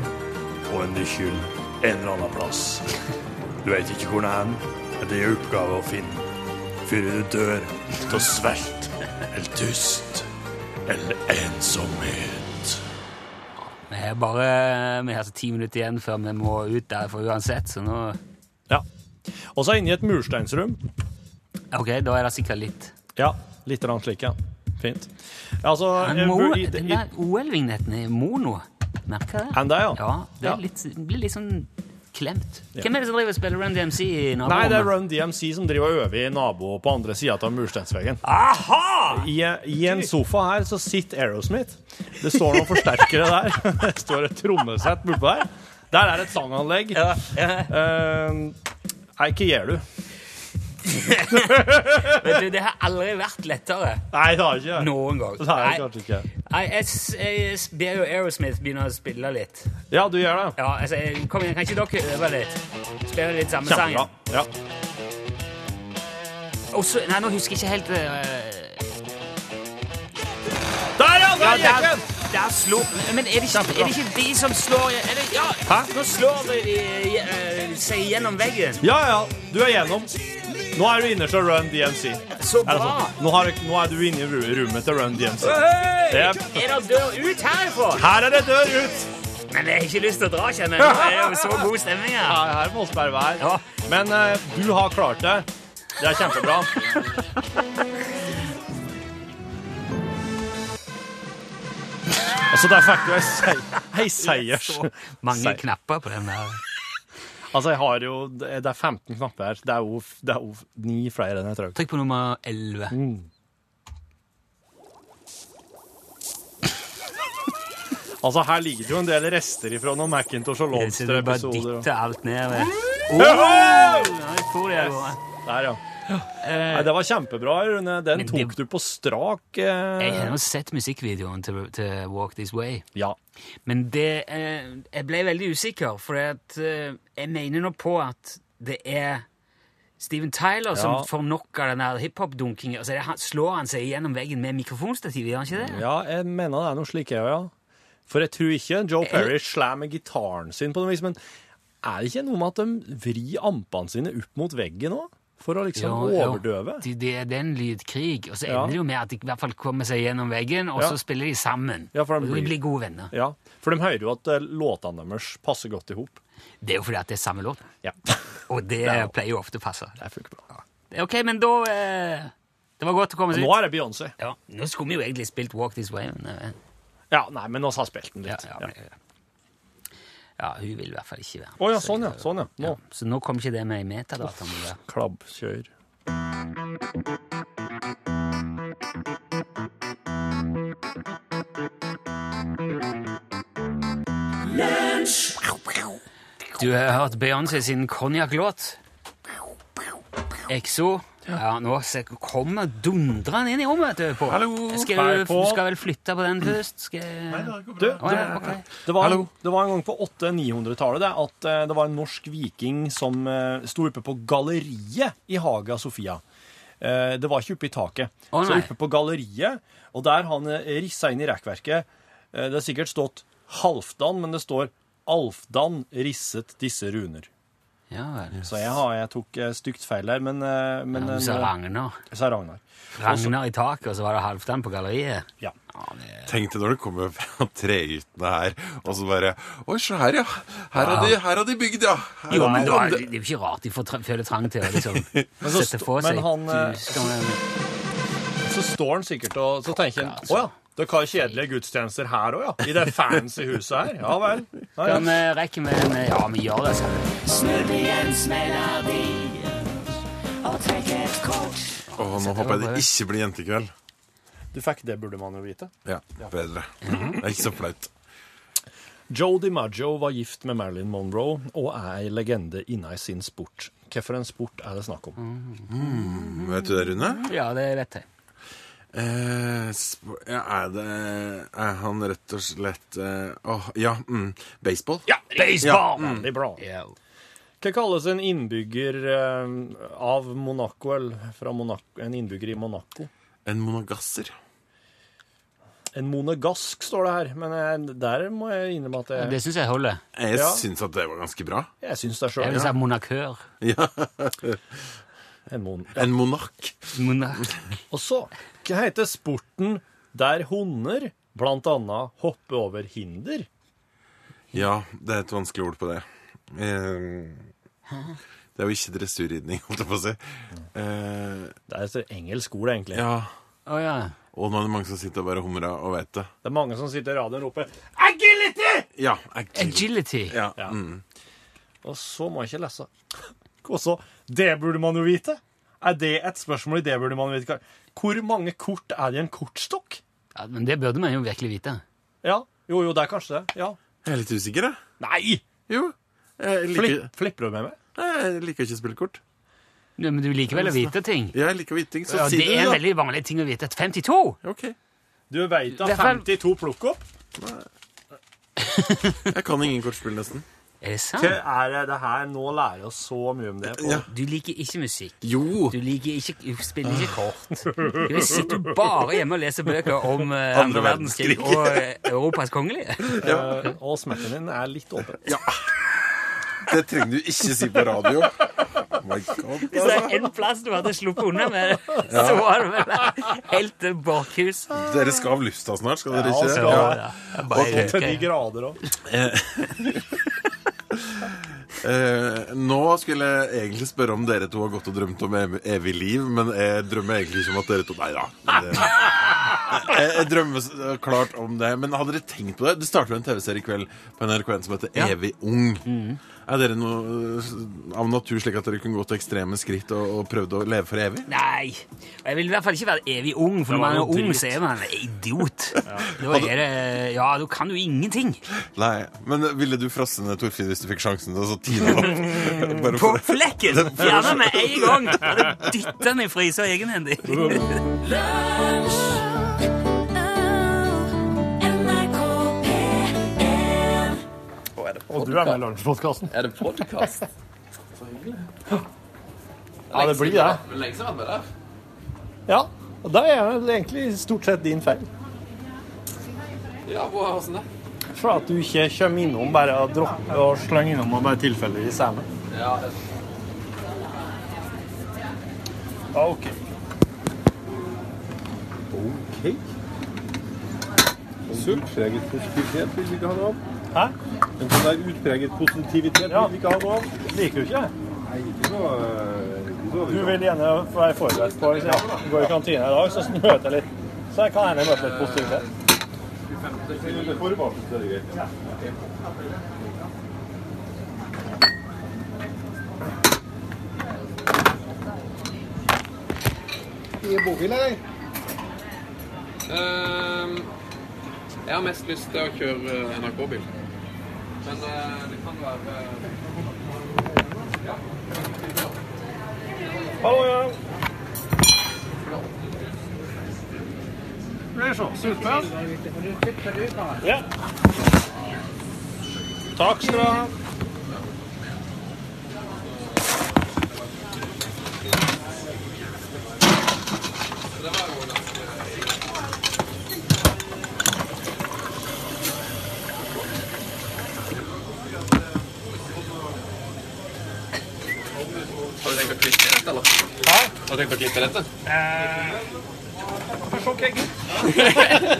[SPEAKER 10] og en nøkkel en eller annen plass. Du veit ikke hvor den er, men det er oppgave å finne. Før du dør av svelt eller tyst eller ensomhet.
[SPEAKER 4] Vi har bare vi har altså ti minutter igjen før vi må ut derfra uansett, så nå
[SPEAKER 5] Ja. Og så inne i et mursteinsrom.
[SPEAKER 4] Ok, da er det sikkert litt
[SPEAKER 5] Ja, litt eller annet slik, ja. Fint. Altså,
[SPEAKER 4] Men
[SPEAKER 5] eh,
[SPEAKER 4] Mo,
[SPEAKER 5] i-
[SPEAKER 4] den
[SPEAKER 5] i-
[SPEAKER 4] der OL-vignetten er mono. Merker jeg det?
[SPEAKER 5] Er den det, ja?
[SPEAKER 4] ja det
[SPEAKER 5] Ja.
[SPEAKER 4] er litt, blir litt sånn klemt. Hvem er det som driver og spiller Run DMC i
[SPEAKER 5] Nei, det er
[SPEAKER 4] naborommet?
[SPEAKER 5] Run DMC som driver og øver i nabo på andre sida av mursteinsveggen.
[SPEAKER 4] Aha!
[SPEAKER 5] I, I en sofa her så sitter Aerosmith. Det står noen forsterkere der. Det står et trommesett bortpå der. Der er et sanganlegg.
[SPEAKER 4] Ja, ja.
[SPEAKER 5] Eh, Nei, ikke gjør du.
[SPEAKER 4] Vet du, det har aldri vært lettere
[SPEAKER 5] Nei, det har ikke jeg.
[SPEAKER 4] noen gang.
[SPEAKER 5] Det har jeg kanskje ikke.
[SPEAKER 4] Nei, jeg, s- jeg s- ber jo Aerosmith begynne å spille litt.
[SPEAKER 5] Ja, du gjør det.
[SPEAKER 4] Ja, altså, jeg- kom igjen, kan ikke dere øve litt? Spille litt samme sang?
[SPEAKER 5] Kjempebra. Ja.
[SPEAKER 4] Og så- Nei, nå husker jeg ikke helt eh,
[SPEAKER 5] Der, ja! Der
[SPEAKER 4] Ja,
[SPEAKER 5] gikk
[SPEAKER 4] der,
[SPEAKER 5] den!
[SPEAKER 4] der slår Men er det, ikke, er det ikke de som slår er det, Ja, nå slår de eh, eh, seg gjennom veggen.
[SPEAKER 5] Ja, ja. Du er gjennom. Nå er du innerst og Run DMC.
[SPEAKER 4] Så
[SPEAKER 5] Er det
[SPEAKER 4] bra!
[SPEAKER 5] sånn? Nå, har, du- nå er du inne i ru- rommet til Run DMC.
[SPEAKER 4] Hey!
[SPEAKER 5] Jep.
[SPEAKER 4] Er det dør ut herfra?
[SPEAKER 5] Her er det dør ut!
[SPEAKER 4] Men jeg har ikke lyst til å dra, kjenner jeg. Det er jo så god stemning
[SPEAKER 5] Ja,
[SPEAKER 4] her.
[SPEAKER 5] her må vi bare være.
[SPEAKER 4] Ja.
[SPEAKER 5] Men eh, du har klart det. Det er kjempebra. Altså, der fikk du ei seier. Ei seiers.
[SPEAKER 4] Så mange
[SPEAKER 5] Seier.
[SPEAKER 4] knapper på den der.
[SPEAKER 5] Altså, jeg har jo Det er 15 knapper her. Det er jo, det er jo ni flere enn jeg tror.
[SPEAKER 4] Trykk på nummer 11.
[SPEAKER 5] Altså, her ligger det jo en del rester ifra noen Macintosh og
[SPEAKER 4] Så du bare
[SPEAKER 5] Lobster-episoder.
[SPEAKER 4] dytter alt ned. vet du. Ja, jeg tror det er bra.
[SPEAKER 5] Der, ja. Nei, det var kjempebra, Rune. Den
[SPEAKER 4] Men det-
[SPEAKER 5] tok du på strak
[SPEAKER 4] Jeg har
[SPEAKER 5] eh,
[SPEAKER 4] jo sett musikkvideoen til, til Walk This Way.
[SPEAKER 5] Ja.
[SPEAKER 4] Men det eh, Jeg ble veldig usikker, for at, eh, jeg mener nå på at det er Steven Tyler som
[SPEAKER 5] Ja.
[SPEAKER 4] får nok av den der hiphop-dunkingen. Altså, det- han- slår han seg gjennom veggen med mikrofonstativ, gjør han ikke det?
[SPEAKER 5] Ja, jeg mener det er noe slik, jeg, ja. For jeg tror ikke Joe Perry slammer gitaren sin på noe vis, men er det ikke noe med at de vrir ampene sine opp mot veggen òg? For å
[SPEAKER 4] Jo,
[SPEAKER 5] liksom
[SPEAKER 4] jo.
[SPEAKER 5] overdøve?
[SPEAKER 4] Det, det er den lydkrig, og så
[SPEAKER 5] Ja.
[SPEAKER 4] ender det jo med at de i hvert fall kommer seg gjennom veggen, og
[SPEAKER 5] Ja.
[SPEAKER 4] så spiller de sammen.
[SPEAKER 5] Ja, for de
[SPEAKER 4] og de
[SPEAKER 5] blir-
[SPEAKER 4] blir gode venner.
[SPEAKER 5] Ja, for de hører jo at eh, låtene deres passer godt i hop.
[SPEAKER 4] Det er jo fordi at det er samme låt,
[SPEAKER 5] Ja.
[SPEAKER 4] og det
[SPEAKER 5] Ja.
[SPEAKER 4] pleier jo ofte å passe.
[SPEAKER 5] Det funker bra.
[SPEAKER 4] Ok, men da eh, Det var godt å komme seg
[SPEAKER 5] Nå
[SPEAKER 4] ut.
[SPEAKER 5] er det Beyoncé.
[SPEAKER 4] Ja, nå skulle vi jo egentlig spilt Walk This Way. Men, eh,
[SPEAKER 5] Ja, nei, men oss har spilt den
[SPEAKER 4] Ja,
[SPEAKER 5] litt.
[SPEAKER 4] ja, men, ja, hun vil i hvert fall ikke være med.
[SPEAKER 5] Å ja, sånn ja. Sånn, ja. Nå.
[SPEAKER 4] Så nå kom ikke det med i metadataen. min der.
[SPEAKER 5] Klabbkjør.
[SPEAKER 4] Du har hørt Beyoncé sin konjakklåt. Exo. Ja, nå se- kommer dundrende inn i rommet, vet du. På.
[SPEAKER 5] Hallo.
[SPEAKER 4] Skal
[SPEAKER 5] Hei,
[SPEAKER 4] du,
[SPEAKER 5] på.
[SPEAKER 4] skal vel flytte på den først? Skal...
[SPEAKER 5] Du,
[SPEAKER 4] Å, ja, ok.
[SPEAKER 5] Det var, det var en gang på 800-900-tallet det, at eh, det var en norsk viking som eh, sto oppe på galleriet i Haga Sofia. Eh, det var ikke oppe i taket.
[SPEAKER 4] Å,
[SPEAKER 5] så
[SPEAKER 4] nei.
[SPEAKER 5] oppe på galleriet, og der han eh, rissa inn i rekkverket eh, Det har sikkert stått Halfdan, men det står Alfdan risset disse runer.
[SPEAKER 4] Ja vel.
[SPEAKER 5] Så jeg, har, jeg tok eh, stygt feil der, men, eh, men
[SPEAKER 4] Ja,
[SPEAKER 5] eh,
[SPEAKER 4] Du sa Ragnar.
[SPEAKER 5] sa Ragnar.
[SPEAKER 4] Ragnar i taket, og så var det Halvdan på galleriet.
[SPEAKER 5] Ja.
[SPEAKER 9] Tenk deg når du kommer fra trehyttene her, og så bare Oi, se her, ja. Her har de, her har de bygd, ja. Her
[SPEAKER 4] Jo,
[SPEAKER 9] har
[SPEAKER 4] men
[SPEAKER 9] de-
[SPEAKER 4] da, er det det er jo ikke rart de får tra- føler trang til å liksom
[SPEAKER 5] så
[SPEAKER 4] sette
[SPEAKER 5] sto-
[SPEAKER 4] for seg.
[SPEAKER 5] men han, eh,
[SPEAKER 4] Du skal-
[SPEAKER 5] Så står han sikkert og så tenker han
[SPEAKER 4] altså.
[SPEAKER 5] Å ja, dere har kjedelige gudstjenester her òg, ja? I det fancy huset her? Ja vel. Ja, ja.
[SPEAKER 4] Kan eh, vi rekke med en Ja, vi gjør det.
[SPEAKER 9] Å, nå håper jeg det ikke blir jentekveld.
[SPEAKER 5] Du fikk det, burde man jo vite.
[SPEAKER 9] Ja, bedre. Mhm. Det er ikke så flaut.
[SPEAKER 5] Joe DiMaggio var gift med Marilyn Monroe og er ei legende inne i sin sport. Hvilken sport er det snakk om?
[SPEAKER 9] Mm. Vet du det, Rune?
[SPEAKER 4] Ja, det vet jeg.
[SPEAKER 9] Eh, sp- ja, er det Er han rett og slett eh, Åh, ja. Mm, baseball? mm.
[SPEAKER 5] Ja,
[SPEAKER 9] baseball!
[SPEAKER 5] Veldig bra.
[SPEAKER 4] Ja.
[SPEAKER 5] Hva kalles en innbygger eh, av Monaco, eller fra Monaco, en innbygger i Monaco?
[SPEAKER 9] En monogasser.
[SPEAKER 5] En monegask står det her, men eh, der må jeg innrømme at jeg
[SPEAKER 4] Det syns jeg holder.
[SPEAKER 9] Jeg
[SPEAKER 5] Ja.
[SPEAKER 9] syns at det var ganske bra.
[SPEAKER 5] Jeg syns det sjøl.
[SPEAKER 4] Jeg vil si monarkør.
[SPEAKER 9] Ja.
[SPEAKER 5] En mon.
[SPEAKER 9] En monark.
[SPEAKER 4] Monark.
[SPEAKER 5] Og så hva heter sporten der hunder blant annet hopper over hinder.
[SPEAKER 9] Ja, det er et vanskelig ord på det. Eh, Det er jo ikke dressurridning, holdt jeg på å si. Eh,
[SPEAKER 5] Det er et engelsk ord, egentlig.
[SPEAKER 9] Ja.
[SPEAKER 4] Å ja.
[SPEAKER 9] Og nå er det mange som sitter og bare humrer og vet det.
[SPEAKER 5] Det er mange som sitter i radioen og roper
[SPEAKER 9] Ja. Agility.
[SPEAKER 4] Agility.
[SPEAKER 9] Ja.
[SPEAKER 5] Ja.
[SPEAKER 9] Mm.
[SPEAKER 5] Og så må jeg ikke lese. Og så Det burde man jo vite! Er det et spørsmål i det burde man vite? Hvor mange kort er det i en kortstokk?
[SPEAKER 4] Ja, men det burde man jo virkelig vite.
[SPEAKER 5] Ja. Jo, jo, det er kanskje det. Ja.
[SPEAKER 9] Jeg er litt usikker, jeg.
[SPEAKER 5] Nei!
[SPEAKER 9] Jo. Jeg liker,
[SPEAKER 5] Flipp, flipper du med meg?
[SPEAKER 9] jeg liker ikke spillekort.
[SPEAKER 4] Ja, Men du liker vel å vite ting?
[SPEAKER 9] Jeg liker viting, så
[SPEAKER 4] Ja,
[SPEAKER 9] si
[SPEAKER 4] det er en
[SPEAKER 9] det,
[SPEAKER 4] veldig vanlig ting å vite. Et 52!
[SPEAKER 9] da. OK.
[SPEAKER 5] Du veit at
[SPEAKER 4] Det er feil.
[SPEAKER 5] 52 plukk opp?
[SPEAKER 9] Jeg kan ingen kortspill, nesten.
[SPEAKER 4] Er det
[SPEAKER 5] Det
[SPEAKER 4] sant?
[SPEAKER 5] er det her Nå lærer oss så mye om det. på-
[SPEAKER 9] Ja.
[SPEAKER 4] Du liker ikke musikk.
[SPEAKER 9] Jo.
[SPEAKER 4] Du liker ikke, du spiller ikke kort. Du sitter bare hjemme og leser bøker om eh, andre verdenskrig
[SPEAKER 9] verdenskrig.
[SPEAKER 4] og eh, Europas kongelige.
[SPEAKER 5] Eh, Og smekken din er litt åpen.
[SPEAKER 9] Det trenger du ikke si på radio. Oh my god.
[SPEAKER 4] Hvis det er en plass du hadde sluppet unna med det, så var det vel helt til Borchhus.
[SPEAKER 9] Dere skal av lufta snart, skal dere ikke?
[SPEAKER 5] skal
[SPEAKER 9] det?
[SPEAKER 5] Ja.
[SPEAKER 4] Ja,
[SPEAKER 5] Og til de
[SPEAKER 4] bare-
[SPEAKER 5] grader òg.
[SPEAKER 9] Eh, nå skulle jeg egentlig spørre om dere to har gått og drømt om ev evig liv, men jeg drømmer egentlig ikke om at dere to Nei da. men det- Jeg, jeg drømmer s- klart om det. Men hadde dere tenkt på det? Det starter jo en TV-serie i kveld på NRK1 som heter Evig ung. Er dere noe eh, av natur slik at dere kunne gått til ekstreme skritt og, og prøvd å leve for evig?
[SPEAKER 4] Nei. Og jeg vil i hvert fall ikke være evig ung, for når man er ung, så er man en idiot. Da er det Ja, da kan du ingenting.
[SPEAKER 9] Nei. Men ville du frosse ned Torfinn hvis du fikk sjansen til å så tine opp? Bare
[SPEAKER 4] På
[SPEAKER 9] for-
[SPEAKER 4] flekken! Fjerne med en gang! Bare dytte den i frysa egenhendig.
[SPEAKER 5] Og du er med i Lunsjpodkasten.
[SPEAKER 11] Er det podkast?
[SPEAKER 5] Ja, det blir det.
[SPEAKER 11] Lenge siden jeg har vært med der.
[SPEAKER 5] Ja. Og det er vel egentlig stort sett din feil.
[SPEAKER 11] Ja, hvor- hvordan det?
[SPEAKER 5] For at du ikke kommer innom bare og dropper og slenger innom og bare tilfeldigvis er med.
[SPEAKER 11] Ja, det er-
[SPEAKER 5] OK.
[SPEAKER 12] Utpreget positivitet vil vi ikke ha noe av.
[SPEAKER 5] Hæ?
[SPEAKER 12] En sånn der utpreget positivitet
[SPEAKER 5] Ja.
[SPEAKER 12] vil vi ikke ha noe av.
[SPEAKER 5] Liker du ikke det?
[SPEAKER 12] Nei, ikke noe, eh, ikke noe av
[SPEAKER 5] Du
[SPEAKER 12] det.
[SPEAKER 5] vil gjerne være forberedt på hvis jeg går i kantina i dag, så møter jeg litt. Så jeg kan hende møte litt positivitet.
[SPEAKER 12] Under forvarsel, så er det greit.
[SPEAKER 11] Ehm, Jeg har mest lyst til å kjøre eh, NRK-bil. Men eh, det kan være
[SPEAKER 5] Hallo, ja. Skal vi se. Supert. Ja. Takk skal du ha.
[SPEAKER 11] Har du tenkt å klippe i dette, eller? Har du tenkt å klippe i dette?
[SPEAKER 5] Får se hva jeg gir.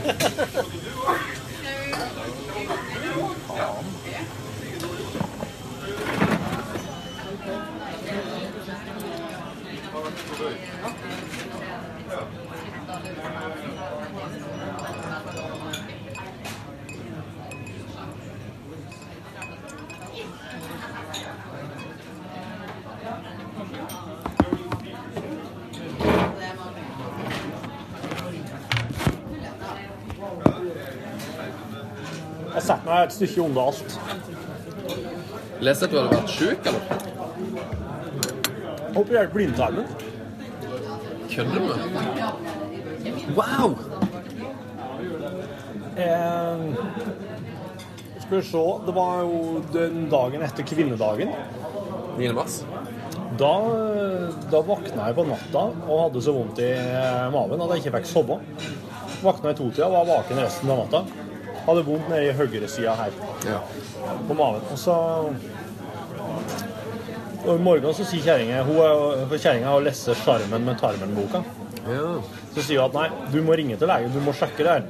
[SPEAKER 5] Jeg setter meg et stykke unna alt.
[SPEAKER 11] Leste at du hadde vært sjuk, eller?
[SPEAKER 5] Operert blindtarmen.
[SPEAKER 11] Kødder du med meg?
[SPEAKER 5] Wow! Eh, skal vi se Det var jo den dagen etter kvinnedagen.
[SPEAKER 11] 9. mars?
[SPEAKER 5] Da, eh, da våkna jeg på natta og hadde så vondt i maven at jeg ikke fikk sove. Våkna i totida, var vaken resten av natta. Hadde vondt nede i høyresida her på maven. Og så og I morgen så sier kjerringa Hun er- for kjerringa har lest 'Sjarmen med tarmen'-boka. Så sier hun at nei, du må ringe til legen, du må sjekke det her.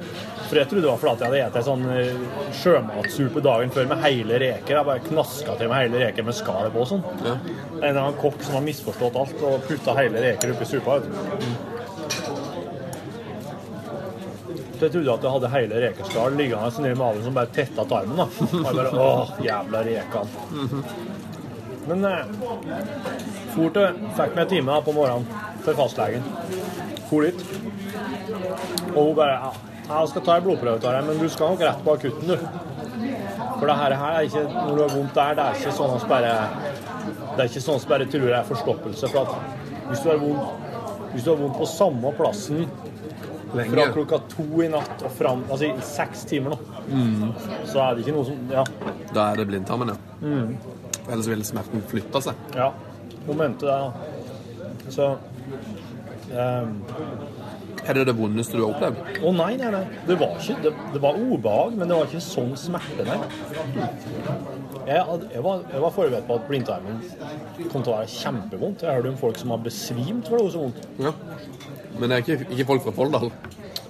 [SPEAKER 5] For jeg trodde det var fordi jeg hadde spist sånn eh, sjømatsuppe dagen før med hele reker. Jeg bare knaska til meg hele reker med skallet på og sånn. En eller annen kokk som har misforstått alt og putta hele reker oppi suppa. vet du. Så jeg trodde at jeg hadde hele rekeskall liggende nedi magen som bare tetta tarmen. da. Og jeg bare, åh, jævla rekan. Men eh, for til, fikk meg en time da, på morgenen til fastlegen. For dit. Og hun bare ja, 'Jeg skal ta en blodprøve av deg, men du skal nok rett på akutten, du.' For det her, her er ikke Når du har vondt der, det er ikke sånn at bare Det er ikke sånn at bare tror det er forstoppelse. For at hvis du har vondt, hvis du har vondt på samme plassen fra
[SPEAKER 13] Lenge.
[SPEAKER 5] klokka to i natt og fram Altså i seks timer nå,
[SPEAKER 13] Mm.
[SPEAKER 5] så er det ikke noe som Ja. Mm.
[SPEAKER 13] Da er det blindtarmen, ja. For Ellers vil smerten flytte seg.
[SPEAKER 5] Ja, hun mente det, da. Så ehm,
[SPEAKER 13] Er det det vondeste du har opplevd?
[SPEAKER 5] Å nei, nei, nei. Det var ikke Det, det var obehag, men det var ikke sånn smerte, nei. Jeg, hadde- jeg, var, jeg var forberedt på at blindtarmen kom til å være kjempevondt. Jeg hørte om folk som har besvimt for det var så vondt.
[SPEAKER 13] Ja. Men det er ikke, ikke folk fra Folldal?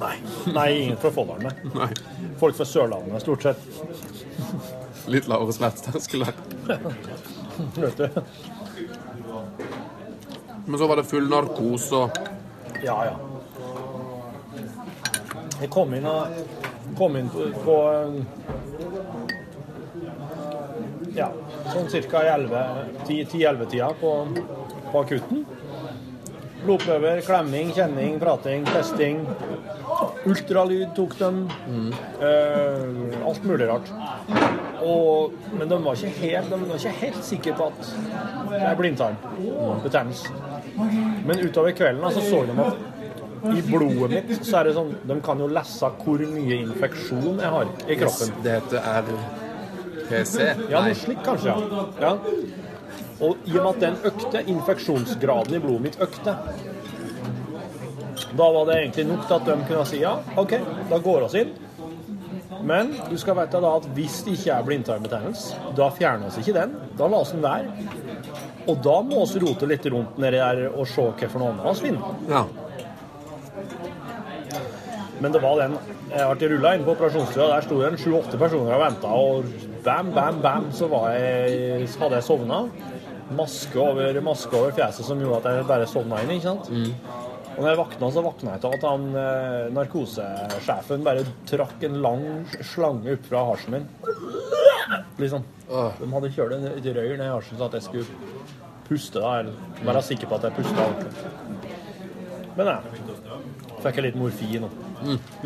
[SPEAKER 5] Nei. Nei, ingen fra Folldal, nei. Folk fra Sørlandet, stort sett.
[SPEAKER 13] Litt lavere smerteterskel der.
[SPEAKER 5] Vet du.
[SPEAKER 13] Men så var det full narkose og
[SPEAKER 5] Ja, ja. Jeg kom inn, og, kom inn på, på eh, en- Ja, sånn ca. 10-11-tida på, på akutten. Blodprøver, klemming, kjenning, prating, testing. Ultralyd tok dem. Eh, alt mulig rart. Og, men de var, ikke helt, de var ikke helt sikre på at det er blindtarm. Betennelse. Men utover kvelden da, så så de at i blodet mitt så er det sånn De kan jo lese hvor mye infeksjon jeg har i kroppen.
[SPEAKER 13] Det heter RPC?
[SPEAKER 5] Ja, noe slikt kanskje, ja. ja. Og i og med at den økte, infeksjonsgraden i blodet mitt økte, da var det egentlig nok til at de kunne si ja, OK, da går oss inn. Men du skal vite da at hvis det ikke er blindtarmbetennelse, da fjerner oss ikke den. Da lar oss den være. Og da må vi rote litt rundt nedi der og se hva for noe annet vi finner.
[SPEAKER 13] Ja.
[SPEAKER 5] Men det var den Jeg ble rulla inn på operasjonsstua. Der sto det en sju-åtte personer og venta, og bam, bam, bam, så var jeg, hadde jeg sovna. Maske over, maske over fjeset som gjorde at jeg bare sovna inn, ikke sant. Og når jeg våkna, så våkna jeg til at han eh, narkosesjefen bare trakk en lang slange opp fra hasjen min. Liksom. De hadde kjørt en et røyr ned i hasjen så at jeg skulle puste, da. Eller være sikker på at jeg pusta ordentlig. Men ja. Fikk jeg litt morfin nå.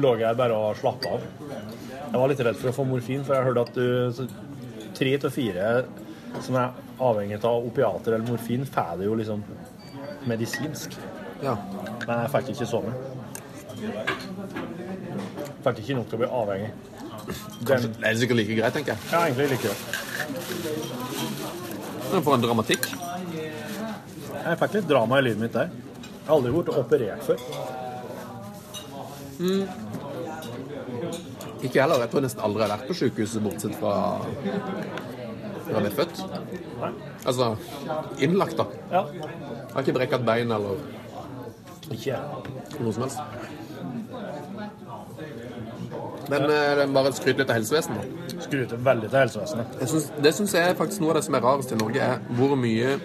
[SPEAKER 5] Lå jeg bare og slappa av. Jeg var litt redd for å få morfin, for jeg hørte at du, så, tre til fire som er avhengig av opiater eller morfin, får det jo liksom medisinsk. Men jeg fikk ikke sånn. Fikk ikke nok til å bli avhengig.
[SPEAKER 13] Kanskje, det er sikkert like greit, tenker jeg.
[SPEAKER 5] Ja, egentlig like det.
[SPEAKER 13] Men For en dramatikk.
[SPEAKER 5] Jeg fikk litt drama i livet mitt der. Jeg har aldri vært operert før.
[SPEAKER 13] Ikke heller. Jeg tror jeg nesten aldri har vært på sykehuset, bortsett fra da jeg ble født. Altså innlagt, da.
[SPEAKER 5] Ja.
[SPEAKER 13] Har ikke brekket bein eller
[SPEAKER 5] Ikke
[SPEAKER 13] noe som helst. Men eh, det er bare skryt litt av helsevesenet. da.
[SPEAKER 5] Skryter veldig til helsevesenet.
[SPEAKER 13] Jeg syns- det syns jeg er faktisk noe av det som er rarest i Norge, er hvor mye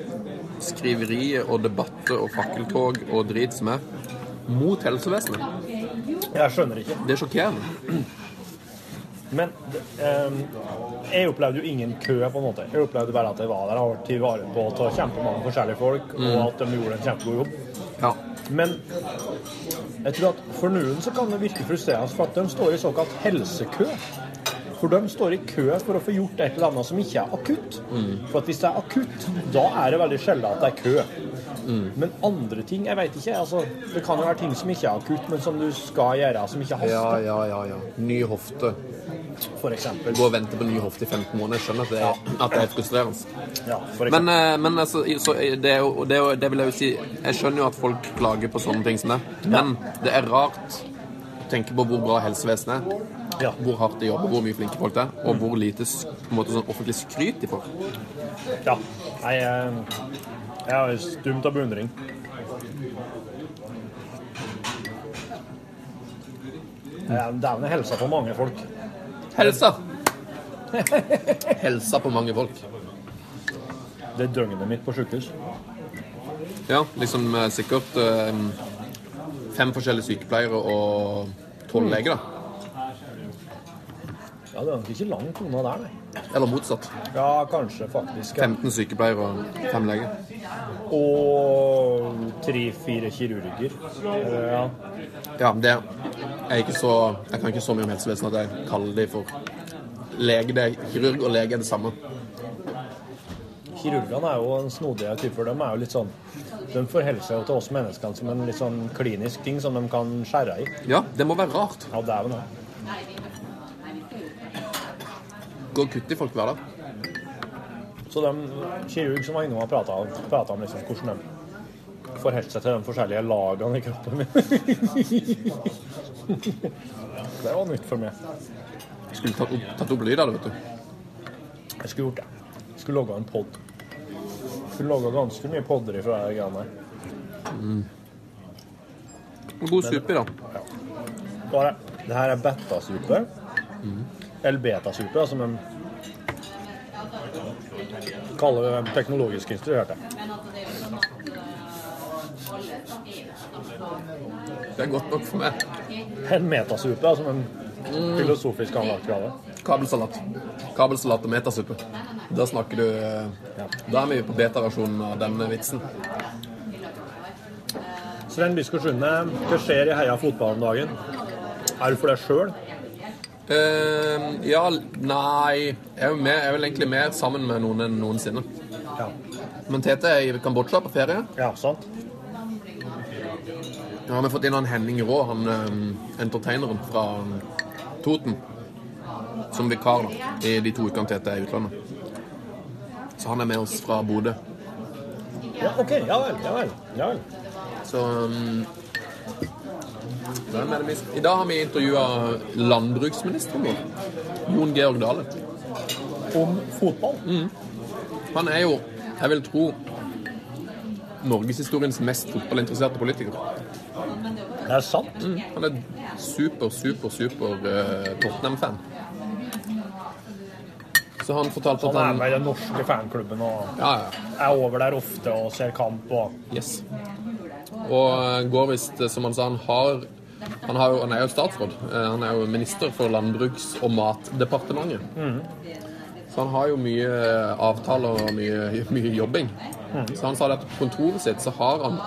[SPEAKER 13] skriverier og debatter og fakkeltog og drit som er mot helsevesenet.
[SPEAKER 5] Jeg skjønner ikke.
[SPEAKER 13] Det er sjokkerende.
[SPEAKER 5] Men ehm, jeg opplevde jo ingen kø, på en måte. Jeg opplevde bare at jeg var der og ble tatt vare på av kjempemange forskjellige folk,
[SPEAKER 13] Mm.
[SPEAKER 5] og at de gjorde en kjempegod jobb.
[SPEAKER 13] Ja.
[SPEAKER 5] Men jeg tror at for noen så kan det virke frustrerende for at de står i såkalt helsekø. For de står i kø for å få gjort et eller annet som ikke er akutt. For at hvis det er akutt, da er det veldig sjelden at det er kø. Men andre ting, jeg veit ikke. Altså, det kan jo være ting som ikke er akutt, men som du skal gjøre, som ikke haster.
[SPEAKER 13] Ja, ja, ja, ja. Ny hofte.
[SPEAKER 5] For eksempel.
[SPEAKER 13] Gå og vente på ny hofte i 15 måneder. Jeg skjønner at det er, at det er frustrerende.
[SPEAKER 5] Ja, for eksempel.
[SPEAKER 13] Men, eh, men altså, i- så eh, det, er jo, det, er jo, det vil jeg jo si Jeg skjønner jo at folk klager på sånne ting som det, men det er rart tenker på hvor bra helsevesenet er, hvor hardt de jobber, hvor mye flinke folk det er, og hvor lite sk- på en måte, sånn offentlig skryt de får.
[SPEAKER 5] Ja. Nei, jeg, jeg er stumt av beundring. Eh, Dæven er helsa for mange folk.
[SPEAKER 13] Helsa! Helsa på mange folk.
[SPEAKER 5] Det er døgnet mitt på sykehus.
[SPEAKER 13] Ja, liksom eh, sikkert eh, fem forskjellige sykepleiere og tolv
[SPEAKER 5] Mm.
[SPEAKER 13] leger, da.
[SPEAKER 5] Ja, det er nok ikke langt unna der, nei.
[SPEAKER 13] Eller motsatt.
[SPEAKER 5] Ja, kanskje faktisk. ja.
[SPEAKER 13] 15 sykepleiere og fem leger.
[SPEAKER 5] Og tre-fire kirurger. Eh, Ja.
[SPEAKER 13] Ja, det jeg er ikke så Jeg kan ikke så mye om helsevesenet at jeg kaller de for lege. Det er kirurg og lege er det samme.
[SPEAKER 5] Kirurgene er jo en snodige typer. De er jo litt sånn De forholder seg jo til oss menneskene som en litt sånn klinisk ting som de kan skjære i.
[SPEAKER 13] Ja, det må være rart.
[SPEAKER 5] Ja, dæven ja.
[SPEAKER 13] Gå og kutte i folk hver dag.
[SPEAKER 5] Så de kirurg som var innom og prata om, pratet om liksom hvordan de forholdt seg til de forskjellige lagene i kroppen min. det var nytt for meg.
[SPEAKER 13] Skulle tatt opp, tatt opp lyd av det, vet du.
[SPEAKER 5] Jeg skulle gjort det. Jeg skulle logga en pod. Skulle logga ganske mye podder ifra de greiene der.
[SPEAKER 13] God suppe, da.
[SPEAKER 5] Hva er det? Det her er betasuppe.
[SPEAKER 13] Mm.
[SPEAKER 5] Eller betasuppe, altså, som de kaller det teknologisk instruerte.
[SPEAKER 13] Det er godt nok for meg.
[SPEAKER 5] En metasuppe, som en filosofisk anlagt grave.
[SPEAKER 13] Kabelsalat. Kabelsalat og metasuppe. Da snakker du eh, Da er vi på beta-versjonen av denne vitsen.
[SPEAKER 5] Sven Biskår Sunde, hva skjer i Heia fotball om dagen? Er du for deg sjøl?
[SPEAKER 13] Eh, ja, nei Jeg er, jo mer, jeg er vel egentlig mer sammen med noen enn noensinne. Men Tete er i Kambodsja på ferie.
[SPEAKER 5] Ja, sant.
[SPEAKER 13] Ja, vi har fått inn han Henning Rå, han eh, entertaineren fra um, Toten. Som vikar da, i de to ukene Tete er i utlandet. Så han er med oss fra Bodø.
[SPEAKER 5] Ja, OK. Ja vel. Ja vel. Ja vel.
[SPEAKER 13] Så um, hvem er det vi I dag har vi intervjua landbruksministeren vår. Jon Georg Dale. Mm.
[SPEAKER 5] Om fotball?
[SPEAKER 13] Han er jo, jeg vil tro, norgeshistoriens mest fotballinteresserte politiker.
[SPEAKER 5] Det er sant.
[SPEAKER 13] Mm, han er super, super, super eh, Tottenham-fan. Så han fortalte at
[SPEAKER 5] Han er
[SPEAKER 13] han
[SPEAKER 5] med i den norske fanklubben og
[SPEAKER 13] Ja, ja.
[SPEAKER 5] er over der ofte og ser kamp og
[SPEAKER 13] Yes. Og går visst, som han sa, han har han, har jo, han er jo statsråd. Eh, Han er jo minister for Landbruks- og matdepartementet.
[SPEAKER 5] Mhm.
[SPEAKER 13] Så han har jo mye avtaler og mye, mye jobbing.
[SPEAKER 5] Mhm.
[SPEAKER 13] Så han sa det at på kontoret sitt så har han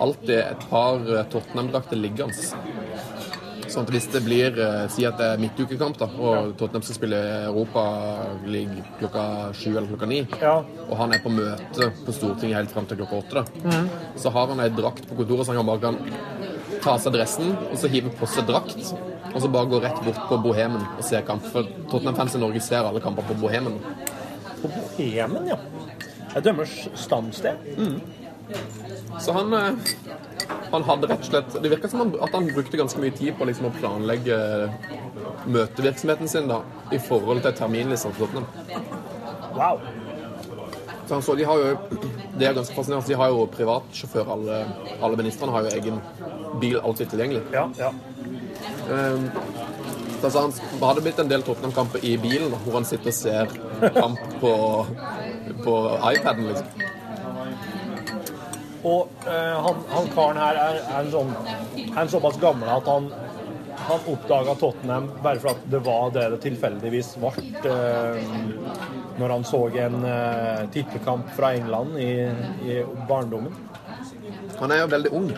[SPEAKER 13] alltid et par eh, Tottenham-drakter liggende. Sånn at hvis det blir eh, Si at det er midtukekamp, da, og Tottenham skal spille Europaligaen klokka sju eller klokka ni, og han er på møte på Stortinget helt fram til klokka åtte, da. Så har han ei drakt på kontoret, så han bare kan ta av seg dressen og så hive på seg drakt. Og så bare gå rett bort på Bohemen og se kamp. For Tottenham-fans i Norge ser alle kamper på Bohemen.
[SPEAKER 5] På Bohemen, ja. Jeg dømmer stamsted.
[SPEAKER 13] Mm. Så han, eh, han hadde rett og slett Det virka som han, at han brukte ganske mye tid på liksom å planlegge møtevirksomheten sin da, i forhold til terminlisten for Tottenham.
[SPEAKER 5] Wow.
[SPEAKER 13] Så han så, de har jo, det er ganske fascinerende. De har jo privatsjåfør, alle, alle ministrene har jo egen bil alltid tilgjengelig.
[SPEAKER 5] Ja, ja.
[SPEAKER 13] Um, så altså, han det hadde blitt en del Tottenham-kamper i bilen, da, hvor han sitter og ser kamp på, på iPaden. liksom.
[SPEAKER 5] Og eh, han, han karen her er, er, en sånn, er en såpass gammel at han, han oppdaga Tottenham bare for at det var det det tilfeldigvis ble eh, når han så en eh, tippekamp fra England i, i barndommen.
[SPEAKER 13] Han er jo veldig ung.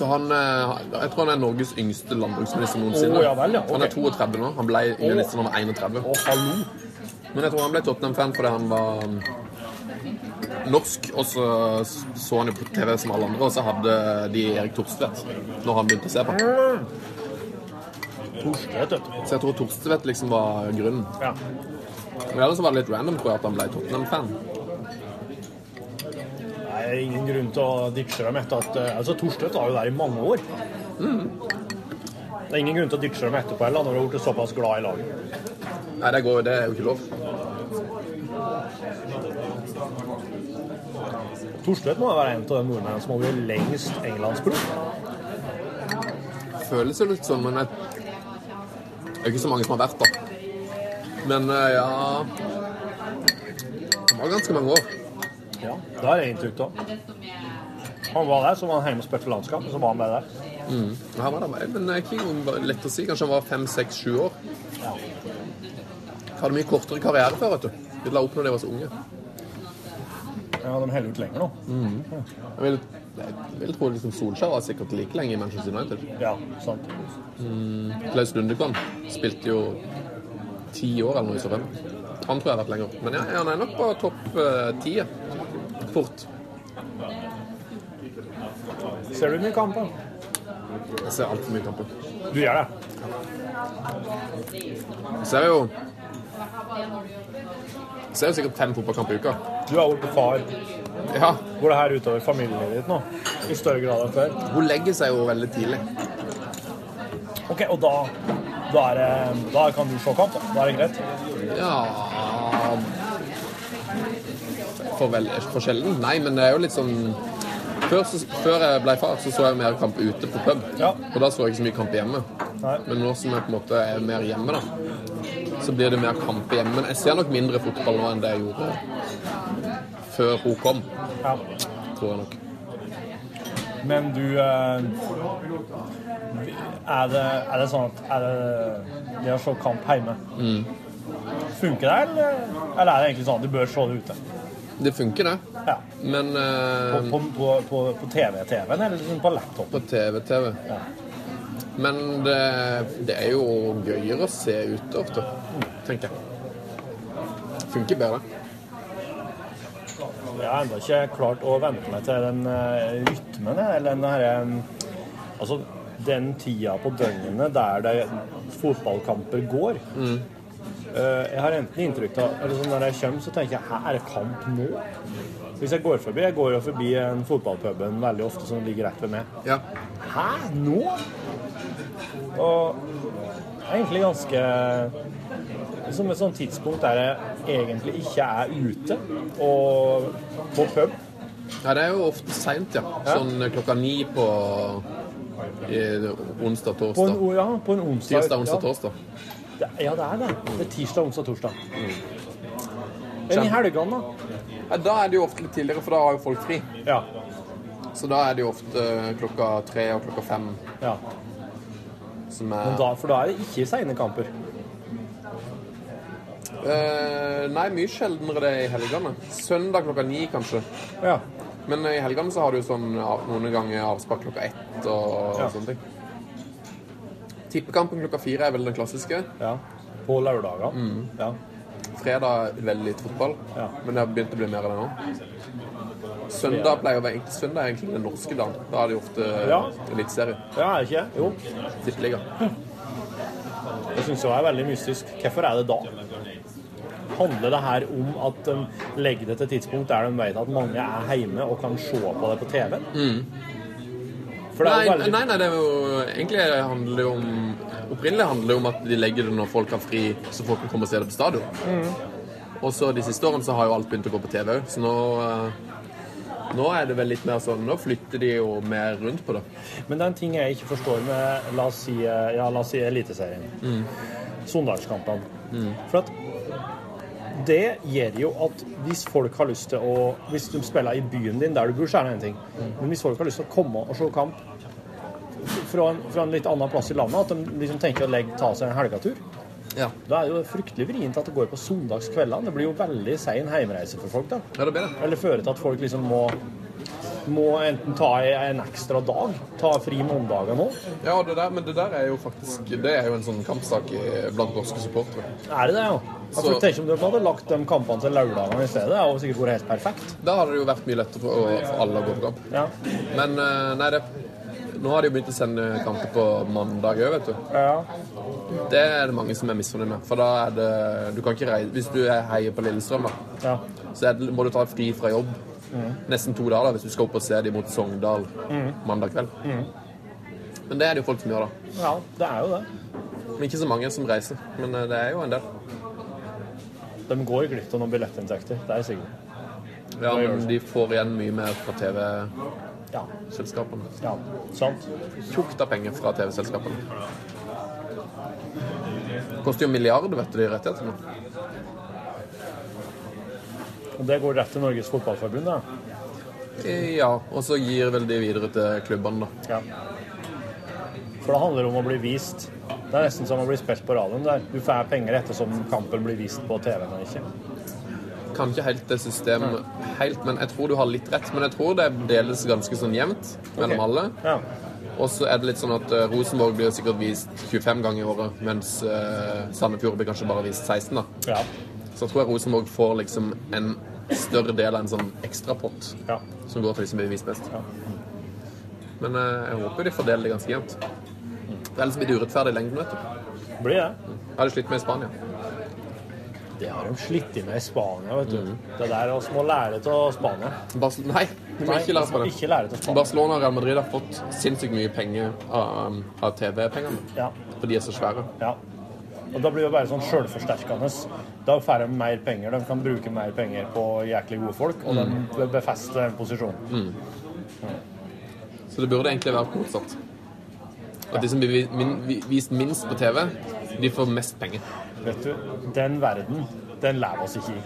[SPEAKER 13] Så han eh, Jeg tror han er Norges yngste landbruksminister noensinne.
[SPEAKER 5] Å, ja vel, ja. Ok.
[SPEAKER 13] Han er 32 nå. Han ble
[SPEAKER 5] Å.
[SPEAKER 13] minister da han var 31. Men jeg tror han ble Tottenham-fan fordi han var mm, norsk, og så så han jo på TV som alle andre, og så hadde de Erik Torstvedt når han begynte å se på.
[SPEAKER 5] Torstvedt, vet
[SPEAKER 13] Så jeg tror Torstvedt liksom var grunnen.
[SPEAKER 5] Ja.
[SPEAKER 13] Men ellers var det liksom litt random, tror jeg, at han ble Tottenham-fan.
[SPEAKER 5] Det er ingen grunn til å ditche dem etter at eh, altså Torstvedt var jo der i mange år. Det er ingen grunn til å ditche dem etterpå heller, når du har blitt såpass glad i laget.
[SPEAKER 13] Nei, det, går, det er jo ikke lov.
[SPEAKER 5] Torstvedt må jo være en av de nordmennene som har vært lengst englandsbror.
[SPEAKER 13] Føles jo litt sånn, men jeg, det er ikke så mange som har vært der. Men eh, ja Det var ganske mange år.
[SPEAKER 5] Ja, det har jeg inntrykk av. Han var der, så var han hjemme og spilte landskap, og så var han bare der.
[SPEAKER 13] Mm. Her var det meg, men det er ikke noe lett å si. Kanskje han var fem, seks, sju år. Hadde mye kortere karriere før, vet du. De la opp når de var så unge.
[SPEAKER 5] Ja, de holder ut lenger nå.
[SPEAKER 13] Mm. Jeg vil, jeg vil tro liksom Solskjær var sikkert like lenge i Manchester United.
[SPEAKER 5] Ja, sant.
[SPEAKER 13] Mm, Klaus Lundekvam spilte jo ti år eller noe sånt. Han tror jeg har vært lenger. Men ja, han er nok på topp eh, ti. ja. Fort.
[SPEAKER 5] Ser du mye kamper?
[SPEAKER 13] Jeg ser altfor mye kamper.
[SPEAKER 5] Du gjør det?
[SPEAKER 13] Jeg ser jo jeg ser jo sikkert fem fotballkamper i uka.
[SPEAKER 5] Du har vært far.
[SPEAKER 13] Ja.
[SPEAKER 5] Går det her utover familielivet ditt nå? I større grad enn før?
[SPEAKER 13] Hun legger seg jo veldig tidlig.
[SPEAKER 5] Ok, og da, da, er, det- da kan du se kamp, da? Da er det greit?
[SPEAKER 13] Ja for, vel, for sjelden? Nei, men det er jo litt sånn før, så, før jeg ble far, så så jeg mer kamp ute på pub. Og da så jeg ikke så mye kamp hjemme. Men nå som jeg på en måte er mer hjemme, da, så blir det mer kamp hjemme. Men jeg ser nok mindre fotball nå enn det jeg gjorde før hun kom. Tror jeg nok.
[SPEAKER 5] Men du eh, Er det, er det sånn at er det, det å se kamp hjemme
[SPEAKER 13] Mm.
[SPEAKER 5] Funker det, eller, eller er det egentlig sånn at du bør se det ute?
[SPEAKER 13] Det funker, det. Men eh,
[SPEAKER 5] På, på, på, på TV-TV-en, eller liksom på laptop?
[SPEAKER 13] På TV-TV. Men det, det er jo gøyere å se ute ofte, tenker jeg. Funker bedre.
[SPEAKER 5] Jeg har ennå ikke klart å vente meg til den eh, rytmen, jeg, eller den herre eh, Altså, den tida på døgnet der det fotballkamper går. Eh, jeg har enten inntrykk av eller sånn Når jeg kommer, så tenker jeg Hæ, er det kamp nå? Hvis jeg går forbi Jeg går jo forbi en fotballpuben veldig ofte som ligger rett ved meg. Hæ? Nå? Og det er egentlig ganske Som et sånt tidspunkt der jeg egentlig ikke er ute og på pub.
[SPEAKER 13] Ja, det er jo ofte seint, ja.
[SPEAKER 9] eh,
[SPEAKER 13] Sånn klokka ni på i, onsdag-torsdag.
[SPEAKER 5] På en, ja, på en onsdag.
[SPEAKER 13] Tirsdag, onsdag,
[SPEAKER 5] ja.
[SPEAKER 13] torsdag.
[SPEAKER 5] Det- Ja, det er det. Det er tirsdag, onsdag, torsdag. Men
[SPEAKER 13] Kjem-
[SPEAKER 5] i helgene, da?
[SPEAKER 13] Ja, da er det jo ofte litt tidligere, for da har jo folk fri.
[SPEAKER 5] Ja.
[SPEAKER 13] Så da er det jo ofte eh, klokka tre og klokka fem
[SPEAKER 5] Ja.
[SPEAKER 13] som er
[SPEAKER 5] Men da, for da er det ikke seine kamper.
[SPEAKER 13] Eh, nei, mye sjeldnere det er i helgene. Søndag klokka ni, kanskje.
[SPEAKER 5] Ja.
[SPEAKER 13] Men i helgene så har du sånn av- noen ganger avspark klokka ett og
[SPEAKER 5] Ja.
[SPEAKER 13] sånne ting. Tippekampen klokka fire er vel den klassiske.
[SPEAKER 5] Ja. På lørdager. Ja.
[SPEAKER 13] Mm. Fredag veldig litt fotball, men det har begynt å bli mer av det nå. Søndag pleier å være egentlig, søndag er egentlig den norske dagen. Da er det jo ofte
[SPEAKER 5] Ja.
[SPEAKER 13] eliteserie.
[SPEAKER 5] Ja, er det ikke? Jo.
[SPEAKER 13] Tippeliga.
[SPEAKER 5] Jeg syns det er veldig mystisk. Hvorfor er det da? Handler det her om at de legger det til et tidspunkt der de vet at mange er hjemme og kan se på det på TV? For det er
[SPEAKER 13] Mm. Nei,
[SPEAKER 5] jo veldig
[SPEAKER 13] nei, nei, det er jo egentlig handler det jo om Opprinnelig handler det om at de legger det når folk har fri, så folk kan komme og se det på stadion. Og så de siste årene så har jo alt begynt å gå på TV òg, så nå eh, Nå er det vel litt mer sånn Nå flytter de jo mer rundt på det.
[SPEAKER 5] Men det er en ting jeg ikke forstår med La oss si, eh, ja, la oss si Eliteserien.
[SPEAKER 13] Mm.
[SPEAKER 5] Sondagskampene.
[SPEAKER 13] Mm.
[SPEAKER 5] For at det gjør jo at hvis folk har lyst til å Hvis de spiller i byen din der du bor, så er det en ting.
[SPEAKER 13] Mm.
[SPEAKER 5] Men hvis folk har lyst til å komme og se kamp fra en, fra en litt annen plass i landet, at de liksom tenker å legge, ta seg en helgetur Da er det jo fryktelig vrient at det går på søndagskveldene. Det blir jo veldig sein heimreise for folk, da. Eller fører til at folk liksom må må enten ta ei- en ekstra dag, ta fri mandagen nå.
[SPEAKER 13] Ja, og det der, men det der er jo faktisk Det er jo en sånn kampsak i- blant norske supportere.
[SPEAKER 5] Er det det, ja? ja for
[SPEAKER 13] Så-
[SPEAKER 5] tenk om de hadde lagt de kampene til lørdagene i stedet. Det hadde jo sikkert vært helt perfekt.
[SPEAKER 13] Da hadde det jo vært mye lettere for, å- for alle å gå på kamp. Men eh, nei, det Nå har de jo begynt å sende kamper på mandag òg, vet du. Det er det mange som er misfornøyd med. For da er det Du kan ikke reise Hvis du er heier på Lillestrøm, da,
[SPEAKER 5] Ja.
[SPEAKER 13] så er det, må du ta fri fra jobb nesten to dager da, hvis du skal opp og se dem mot Sogndal
[SPEAKER 5] Mm.
[SPEAKER 13] mandag kveld.
[SPEAKER 5] Mm.
[SPEAKER 13] Men det er det jo folk som gjør, da.
[SPEAKER 5] Ja, det er jo det.
[SPEAKER 13] Men ikke så mange som reiser. Men eh, det er jo en del.
[SPEAKER 5] De går glipp av noen billettinntekter, det er jeg sikker på.
[SPEAKER 13] Ja, men de får igjen mye mer fra TV-selskapene.
[SPEAKER 5] Ja, sant.
[SPEAKER 13] Tjukt av penger fra TV-selskapene. Det koster jo milliarder, vet du, de rettighetene.
[SPEAKER 5] Og det går rett til Norges Fotballforbund, da.
[SPEAKER 13] Eh, Ja, og så gir vel de videre til klubbene, da.
[SPEAKER 5] Ja. For det handler om å bli vist. Det er nesten som å bli spilt på radioen der. Du får penger ettersom kampen blir vist på TV-en og ikke.
[SPEAKER 13] Kan ikke helt det systemet helt, men jeg tror du har litt rett. Men jeg tror det deles ganske sånn jevnt mellom
[SPEAKER 5] Ok.
[SPEAKER 13] alle.
[SPEAKER 5] Ja.
[SPEAKER 13] Og så er det litt sånn at eh, Rosenborg blir sikkert vist 25 ganger i året, mens eh, Sandefjord blir kanskje bare vist 16, da.
[SPEAKER 5] Ja.
[SPEAKER 13] Så jeg tror jeg Rosenborg får liksom en større del av en sånn ekstrapott som går til de som blir vist best. Men eh, jeg håper jo de fordeler det ganske jevnt. For ellers blir det urettferdig i lengden, vet du.
[SPEAKER 5] Blir det.
[SPEAKER 13] Jeg hadde slitt med i Spania.
[SPEAKER 5] Det har de slitt i med i Spania, vet du. Det der oss må lære av Spania.
[SPEAKER 13] Basel Mm. nei, vi må
[SPEAKER 5] Nei,
[SPEAKER 13] ikke lære
[SPEAKER 5] vi
[SPEAKER 13] på
[SPEAKER 5] må
[SPEAKER 13] det.
[SPEAKER 5] ikke lære til Spania.
[SPEAKER 13] Barcelona og Real Madrid har fått sinnssykt mye penger av, um, av TV-pengene.
[SPEAKER 5] Ja.
[SPEAKER 13] For de er så svære.
[SPEAKER 5] Ja. Og da blir det bare sånn sjølforsterkende. Da får de mer penger. De kan bruke mer penger på jæklig gode folk, og
[SPEAKER 13] Mm.
[SPEAKER 5] de befester en posisjon.
[SPEAKER 13] Mm. Så det burde egentlig vært motsatt. At de som blir vi- min, vi- vist minst på TV, de får mest penger.
[SPEAKER 5] Vet du, den verden, den lever oss ikke i.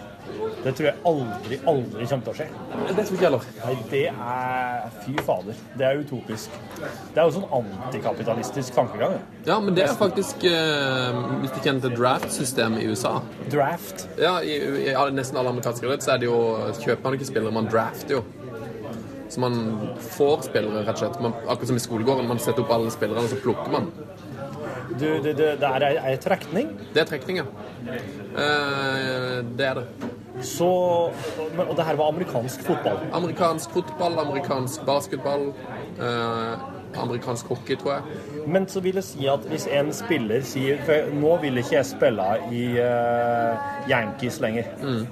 [SPEAKER 5] Det tror jeg aldri, aldri kommer til å skje.
[SPEAKER 13] Det tror ikke jeg heller.
[SPEAKER 5] Nei, det er Fy fader. Det er utopisk. Det er jo sånn antikapitalistisk tankegang. det.
[SPEAKER 13] Ja, men det er faktisk eh, Hvis du kjenner til draft-systemet i USA
[SPEAKER 5] Draft?
[SPEAKER 13] Ja, i, i alle- nesten alle amerikanske idretter så er det jo Kjøper man ikke spillere, man drafter jo. Så man får spillere, rett og slett. Man, akkurat som i skolegården. Man setter opp alle spillerne, så plukker man.
[SPEAKER 5] Du, det, det, det er ei trekning.
[SPEAKER 13] Det er trekning, ja. Eh, det er det.
[SPEAKER 5] Så men- Og det her var amerikansk fotball.
[SPEAKER 13] Amerikansk fotball, amerikansk basketball, eh, amerikansk hockey, tror jeg.
[SPEAKER 5] Men så vil jeg si at hvis en spiller sier For nå vil ikke jeg spille i eh, Yankees lenger.
[SPEAKER 13] Mm.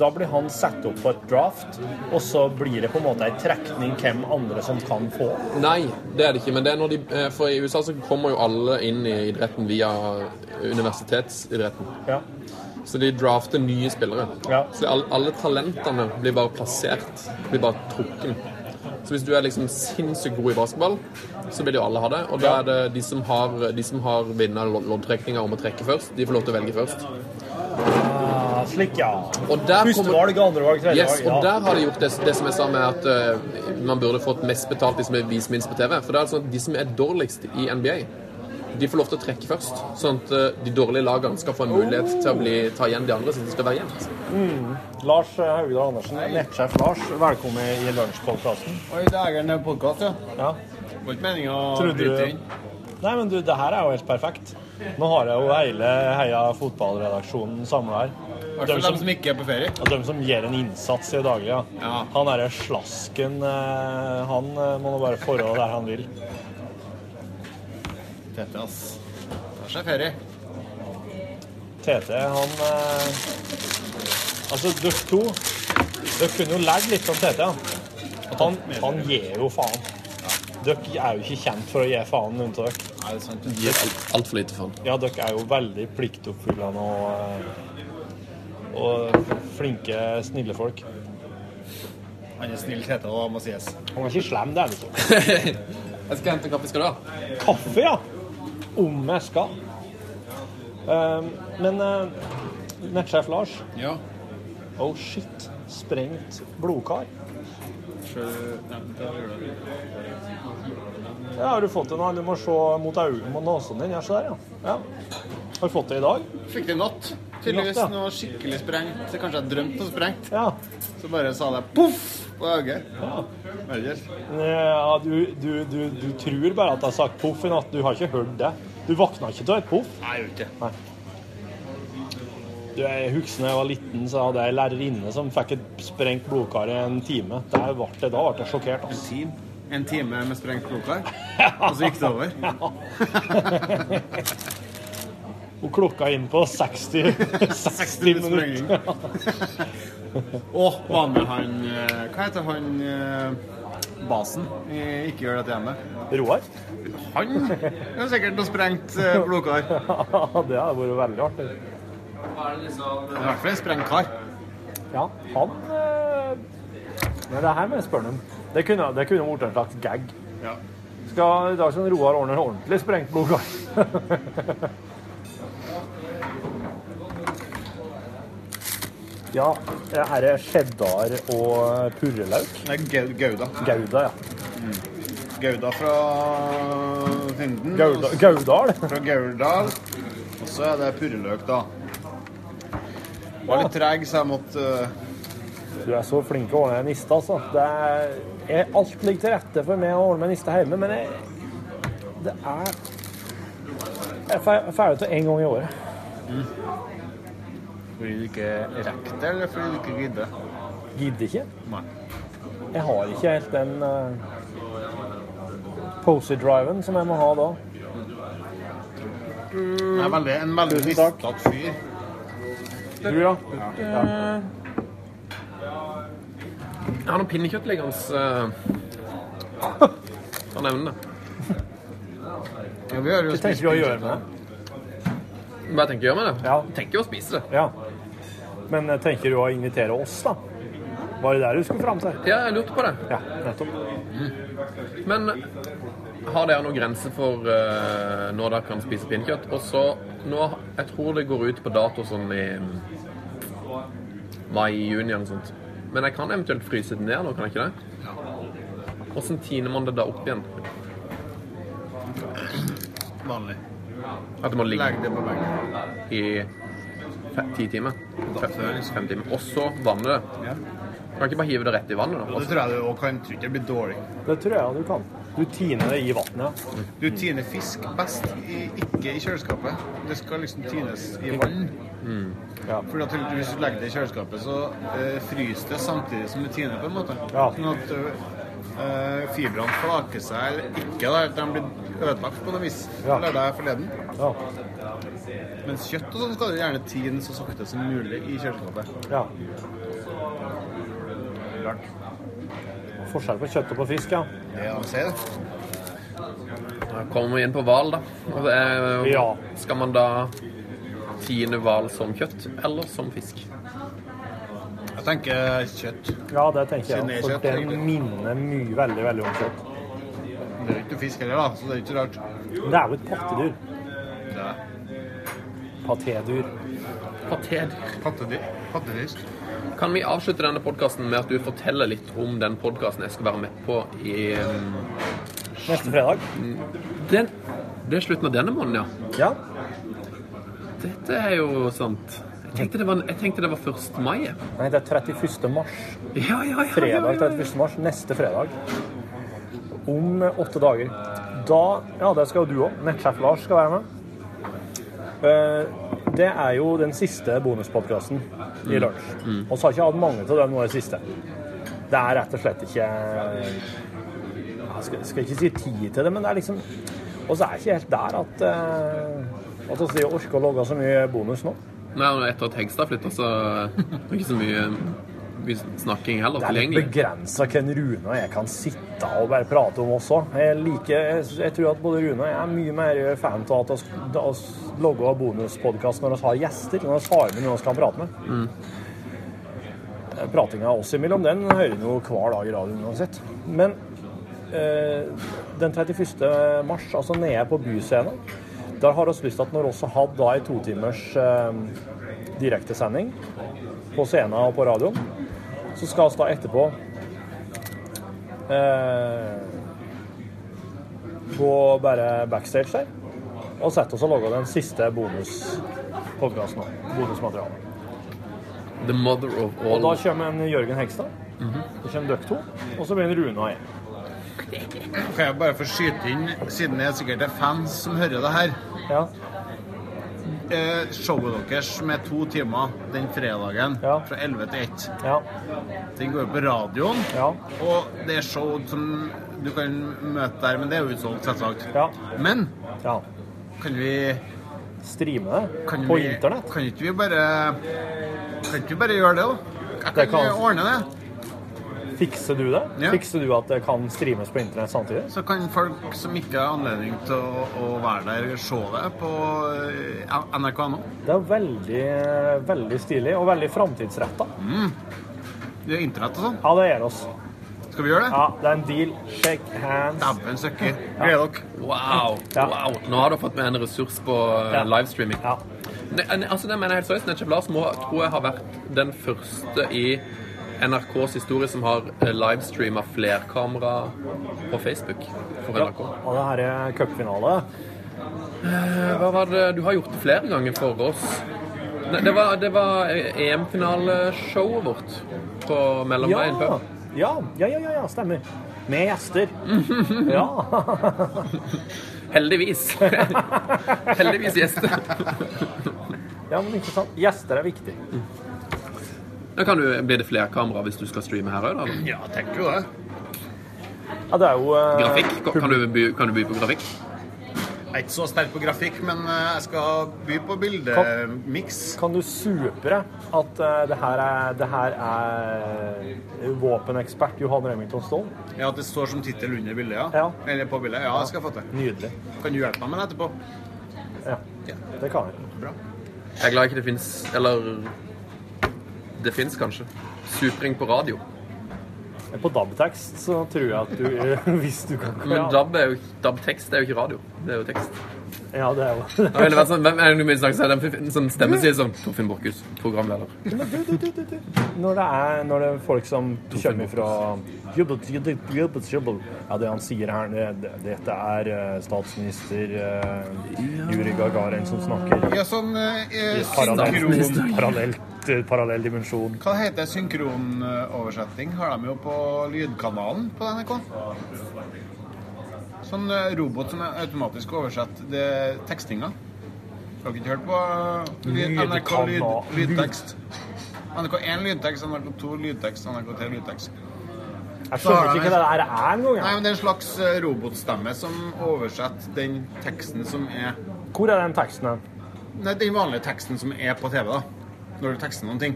[SPEAKER 5] Da blir han satt opp på et draft, og så blir det på en måte ei trekning hvem andre som kan få.
[SPEAKER 13] Nei, det er det ikke. Men det er når de, eh, for i USA så kommer jo alle inn i idretten via universitetsidretten.
[SPEAKER 5] Ja.
[SPEAKER 13] Så de drafter nye spillere. Så alle, alle talentene blir bare plassert. Blir bare trukken. Så hvis du er liksom sinnssykt god i basketball, så vil jo alle ha det. Og da er det de som har, de som har vinner lodd- loddtrekninger om å trekke først, de får lov til å velge først.
[SPEAKER 5] Ah, slik, ja.
[SPEAKER 13] Og der
[SPEAKER 5] Første valg, andre valg, tredje
[SPEAKER 13] Yes,
[SPEAKER 5] valg.
[SPEAKER 13] og der har de gjort det, det som jeg sa med at eh, man burde fått mest betalt de som er vist minst på TV. For det er sånn at de som er dårligst i NBA, de får lov til å trekke først. Sånn at eh, de dårlige lagene skal få en mulighet til å bli, ta igjen altså. de andre, så det skal være jevnt.
[SPEAKER 5] Mm. Lars eh, Haugdal Andersen, nettsjef Lars, velkommen i lunsjpodkasten.
[SPEAKER 9] Oi, dægeren, det er podkast, ja.
[SPEAKER 5] ja.
[SPEAKER 9] Det var ikke meninga å
[SPEAKER 5] Trodde
[SPEAKER 9] bryte
[SPEAKER 5] du
[SPEAKER 9] inn.
[SPEAKER 5] Nei, men du, det her er jo helt perfekt. Nå har jeg jo hele Heia fotballredaksjonen samla her.
[SPEAKER 9] hvert fall dem som
[SPEAKER 5] ikke er på ferie. Ja, dem som gjør en innsats i det daglige. Ja. Han derre slasken, eh, han eh, må nå bare forholde der han vil.
[SPEAKER 9] Tete, ass. Tar seg ferie.
[SPEAKER 5] TT, han eh, Altså, dere to Dere kunne jo lært litt om TT. Ja. At han, han gir jo faen. Dere er jo ikke kjent for å gi faen, noen av dere. Nei, det er sant.
[SPEAKER 13] Gir alt- alt for lite faen.
[SPEAKER 5] Ja, dere er jo veldig pliktoppfyllende og, eh, og flinke, snille folk.
[SPEAKER 9] Han er snill, Tete, og må sies.
[SPEAKER 5] Han er ikke slem, det er han ikke.
[SPEAKER 13] Jeg skal hente kaffe. Skal du ha?
[SPEAKER 5] Kaffe, ja! Om jeg skal. Eh, men eh, nettsjef Lars.
[SPEAKER 9] Ja.
[SPEAKER 5] Oh shit. Sprengt blodkar.
[SPEAKER 9] Sjøl- Nei, det gjør det.
[SPEAKER 5] Ja, har du fått det nå? Du må se mot øynene mot nesen din. Ja, se der, ja. ja. Har du fått det i dag?
[SPEAKER 9] Fikk det i natt. Tydeligvis
[SPEAKER 5] Natt, ja.
[SPEAKER 9] noe skikkelig sprengt. Så kanskje jeg drømte noe sprengt.
[SPEAKER 5] Ja.
[SPEAKER 9] Så bare sa det poff på øyet. Ellers.
[SPEAKER 5] Ja, du, du, du, du tror bare at jeg har sagt poff i natt. Du har ikke hørt det. Du våkna ikke av et poff.
[SPEAKER 9] Nei, jeg gjorde ikke det.
[SPEAKER 5] Nei. Du, jeg husker da jeg var liten, så hadde jeg en lærerinne som fikk et sprengt blodkar i en time. Der ble det, da ble jeg sjokkert. altså. ass.
[SPEAKER 9] En time med sprengt blodkar, og så gikk det over.
[SPEAKER 5] Hun klokka inn på 60, 60 minutter.
[SPEAKER 9] Å, var med han eh, Hva heter han eh, basen. Eh, Ikke gjør dette hjemme.
[SPEAKER 5] Roar?
[SPEAKER 9] Han er sikkert noe sprengt eh, blodkar.
[SPEAKER 5] det hadde vært veldig artig.
[SPEAKER 9] I hvert fall en sprengt kar.
[SPEAKER 5] Ja, han eh, Nei, det her må jeg spørre ham. Det kunne det kunne vært en slags gag.
[SPEAKER 9] Ja.
[SPEAKER 5] Skal i dag skal Roar ordne en ordentlig sprengt blodkar. ja, her er cheddar og purrelauk.
[SPEAKER 9] Nei, Gau- Gouda.
[SPEAKER 5] Gouda, ja.
[SPEAKER 9] Gouda fra Tinden.
[SPEAKER 5] Gauda- Gaudal.
[SPEAKER 9] Fra Gauldal. Og så er det purreløk, da. Var litt treg, så jeg måtte eh,
[SPEAKER 5] Du er så flink til å ordne en niste, altså. Det er, jeg, alt ligger til rette for meg å ordne meg en niste hjemme, men jeg, det er Jeg er fer- ferdig til én gang i året.
[SPEAKER 9] Fordi du ikke rekker det, eller fordi du ikke gidder?
[SPEAKER 5] Gidder ikke.
[SPEAKER 9] Nei.
[SPEAKER 5] Jeg har ikke helt den uh, posy-driven som jeg må ha da.
[SPEAKER 9] Jeg er veldig, en veldig
[SPEAKER 5] Tusen takk.
[SPEAKER 9] listete fyr.
[SPEAKER 5] Du, ja?
[SPEAKER 9] Ja.
[SPEAKER 13] Jeg har noen eh, pinnekjøttliggende. Han nevner det.
[SPEAKER 9] Ja, vi har jo
[SPEAKER 13] Hva tenker
[SPEAKER 9] spist
[SPEAKER 13] du å gjøre
[SPEAKER 9] pinnekjøtt.
[SPEAKER 13] Hva jeg tenker å gjøre med det? Tenker jo å spise det.
[SPEAKER 5] Ja. Men eh, tenker du å invitere oss, da? Var det der du skulle fram til?
[SPEAKER 13] Ja, jeg lurte på det.
[SPEAKER 5] Ja, nettopp.
[SPEAKER 13] Men har dere noen grense for eh, når dere kan spise pinnekjøtt? Og så nå Jeg tror det går ut på dato sånn i mai-juni eller noe sånt. Men jeg kan eventuelt fryse det ned nå, kan jeg ikke det? Hvordan tiner man det da opp igjen?
[SPEAKER 9] Vanlig.
[SPEAKER 13] At det må ligge
[SPEAKER 9] Legg det på veggen.
[SPEAKER 13] i fe- ti timer? Fe- Fem timer. Og så vanne det?
[SPEAKER 9] liksom- Ja.
[SPEAKER 13] Kan jeg ikke bare hive det rett i vannet? da?
[SPEAKER 9] Og det tror jeg du også kan. Tror ikke det blir dårlig.
[SPEAKER 5] Det tror jeg du kan. Du tiner det i vannet.
[SPEAKER 9] Du tiner fisk best i, ikke i kjøleskapet. Det skal liksom tines i vann. Fordi at Hvis du legger det i kjøleskapet, så eh, fryser det samtidig som du tiner, på en måte. Sånn at eh, fibrene flaker seg eller ikke. Da, de blir ødelagt på noe vis.
[SPEAKER 5] Ja.
[SPEAKER 9] Lærte jeg forleden.
[SPEAKER 5] Ja.
[SPEAKER 9] Mens kjøtt og sånn skal du gjerne tine så sakte som mulig i kjøleskapet.
[SPEAKER 5] Ja.
[SPEAKER 9] Rart.
[SPEAKER 5] Forskjell på kjøtt og på fisk, ja.
[SPEAKER 9] Ja, se det.
[SPEAKER 13] Da kommer vi inn på hval, da. Og eh, det er,
[SPEAKER 5] Ja.
[SPEAKER 13] Skal man da tine hval som kjøtt eller som fisk?
[SPEAKER 9] Jeg tenker kjøtt.
[SPEAKER 5] Ja, det tenker jeg.
[SPEAKER 9] Kinesisk
[SPEAKER 5] For
[SPEAKER 9] kjøtt,
[SPEAKER 5] det
[SPEAKER 9] egentlig.
[SPEAKER 5] minner mye veldig, veldig om kjøtt.
[SPEAKER 9] Det er jo ikke fisk heller, da, så det er ikke rart.
[SPEAKER 5] Det er jo et pattedyr.
[SPEAKER 9] Det er
[SPEAKER 5] Patédyr.
[SPEAKER 9] Pattedyr. Pattedyr.
[SPEAKER 13] Kan vi avslutte denne podkasten med at du forteller litt om den podkasten jeg skal være med på i
[SPEAKER 5] Neste fredag?
[SPEAKER 13] Den, det er slutten av denne måneden,
[SPEAKER 5] ja.
[SPEAKER 13] Dette er jo sant. Jeg tenkte det var, jeg tenkte det var 1. mai. jeg.
[SPEAKER 5] Nei, det er 31. mars.
[SPEAKER 13] Ja, ja, ja, ja, ja,
[SPEAKER 5] Fredag
[SPEAKER 13] ja.
[SPEAKER 5] 31. mars. Neste fredag. Om eh, åtte dager. Da Ja, det skal jo du òg. Nettsjef Lars skal være med. Eh, Det er jo den siste bonuspodkasten i
[SPEAKER 13] Mm.
[SPEAKER 5] lunsj.
[SPEAKER 13] Mm.
[SPEAKER 5] Og så har jeg ikke hatt mange av dem nå i det siste. Det er rett og slett ikke Jeg skal, skal ikke si tid til det, men det er liksom Og så er jeg ikke helt der at eh, At vi orker å logge så mye bonus nå.
[SPEAKER 13] Nei, og etter at Hegstad flytta, så er det ikke så mye, mye snakking heller
[SPEAKER 5] Det er litt
[SPEAKER 13] tilgjengelig.
[SPEAKER 5] begrensa hvem Rune og jeg kan sitte og bare prate om også. Jeg, liker, jeg, jeg tror at både Rune og jeg er mye mer eh, fan av at oss- da oss logger bonuspodkast når vi har gjester. Når vi har med noen vi kan prate med.
[SPEAKER 13] Mm.
[SPEAKER 5] Pratinga oss imellom, den hører vi jo hver dag i radioen uansett. Men eh, den 31. mars, altså nede på Byscenen, der har vi lyst til at når vi også hadde da en totimers eh, direktesending på scenen og på radioen, så skal vi da etterpå eh, gå bare backstage der og sette oss og lage den siste bonuspodkasten nå. Bonusmaterialet.
[SPEAKER 13] The mother of
[SPEAKER 5] Og da
[SPEAKER 13] all
[SPEAKER 5] kommer en Jørgen Hegstad.
[SPEAKER 9] Mhm.
[SPEAKER 5] Så kommer dere to, og så begynner Rune og jeg.
[SPEAKER 9] Kan jeg bare få skyte inn, siden det sikkert er fans som hører det her
[SPEAKER 5] ja.
[SPEAKER 9] eh, Showet deres med to timer den fredagen fra 11 til 1 Den går jo på radioen, og det er show som du kan møte der, men det er jo utsolgt, selvsagt. Men kan vi
[SPEAKER 5] Streame det
[SPEAKER 9] kan
[SPEAKER 5] på
[SPEAKER 9] vi,
[SPEAKER 5] internett?
[SPEAKER 9] Kan ikke vi bare Kan ikke vi bare gjøre det, da? Jeg
[SPEAKER 5] Det
[SPEAKER 9] kan,
[SPEAKER 5] kan-
[SPEAKER 9] ordne det.
[SPEAKER 5] Fikser du det?
[SPEAKER 9] Ja.
[SPEAKER 5] Fikser du at det kan streames på internett samtidig?
[SPEAKER 9] Så kan folk som ikke har anledning til å, å være der, se det på eh, nrk.no.
[SPEAKER 5] Det er veldig, veldig stilig og veldig framtidsretta.
[SPEAKER 9] Mm. Det er internett og sånn.
[SPEAKER 5] Ja, det gjør oss.
[SPEAKER 9] Skal vi gjøre det?
[SPEAKER 5] Ja, det er en deal. Shake hands.
[SPEAKER 9] Dæven søkker. Gleder dere.
[SPEAKER 13] Wow. wow. Nå har du fått med en ressurs på eh,
[SPEAKER 9] Ja.
[SPEAKER 13] livestreaming. Ne, ne, altså, det mener jeg helt seriøst. Netchef Lars må, tror jeg har vært den første i NRKs historie som har eh, livestreama flerkamera på Facebook for
[SPEAKER 5] Ja,
[SPEAKER 13] NRK.
[SPEAKER 5] og det her er cupfinale.
[SPEAKER 13] Eh, Hva var det? Du har gjort det flere ganger for oss. Ne, det var, det var EM-finaleshowet vårt på Mellomveien
[SPEAKER 5] ja.
[SPEAKER 13] før.
[SPEAKER 5] ja, ja, ja, ja, ja, stemmer. Med gjester. Ja.
[SPEAKER 13] Heldigvis. Heldigvis gjester.
[SPEAKER 5] ja, men ikke sant. Gjester er viktig.
[SPEAKER 13] Da kan du, Blir det flerkamera hvis du skal streame her òg, da?
[SPEAKER 9] Ja, tenker jo det.
[SPEAKER 5] Ja, det er jo eh,
[SPEAKER 13] Grafikk? Kan du, by, kan du by på grafikk?
[SPEAKER 9] Jeg er ikke så sterk på grafikk, men eh, jeg skal by på
[SPEAKER 5] Kan-
[SPEAKER 9] bildemiks.
[SPEAKER 5] Kan du supre at eh, det her er, det her er våpenekspert Johan Remington Ståhl?
[SPEAKER 9] Ja, at det står som tittel under bildet, ja. Eller på bildet. Ja,
[SPEAKER 5] Ja.
[SPEAKER 9] det skal jeg få til.
[SPEAKER 5] Nydelig.
[SPEAKER 9] Kan du hjelpe meg med det etterpå?
[SPEAKER 5] Ja, det kan jeg.
[SPEAKER 9] Bra.
[SPEAKER 13] Jeg er glad ikke det fins Eller det fins kanskje. Supring på radio.
[SPEAKER 5] På DAB-tekst så tror jeg at du eh, Hvis du kan
[SPEAKER 13] Men DAB er jo, DAB-tekst er jo ikke radio. Det er jo tekst.
[SPEAKER 5] Ja, det er jo
[SPEAKER 13] Da ville det vært sånn, hvem er det du vil snakke til? Den f- Sånn stemmeside som Torfinn Borchhus, programleder.
[SPEAKER 5] Når det er, når det er folk som kommer fra «Jobbet, jobbet, jobbet, jobbet». Ja, det han sier her, det, det- dette er eh, statsminister eh, Juri Gagarin som snakker.
[SPEAKER 9] Ja, sånn eh, eh,
[SPEAKER 5] Parallelt,
[SPEAKER 9] synkron...
[SPEAKER 5] parallelt, eh, parallell dimensjon.
[SPEAKER 9] Hva heter synkronoversetting? Har de jo på lydkanalen på NRK? Sånn eh, robot som automatisk oversetter det- tekstinga. Har dere ikke hørt på lyd, NRK lyd,
[SPEAKER 5] Lydkanal.
[SPEAKER 9] lydtekst? NRK1 lydtekst, NRK2 lydtekst, NRK3 lydtekst.
[SPEAKER 5] Jeg skjønner ikke hva det her er engang.
[SPEAKER 9] Nei, men det er en slags eh, robotstemme som oversetter den teksten som er
[SPEAKER 5] Hvor er den teksten hen?
[SPEAKER 9] Nei, den vanlige teksten som er på TV, da. Når du tekster noen ting.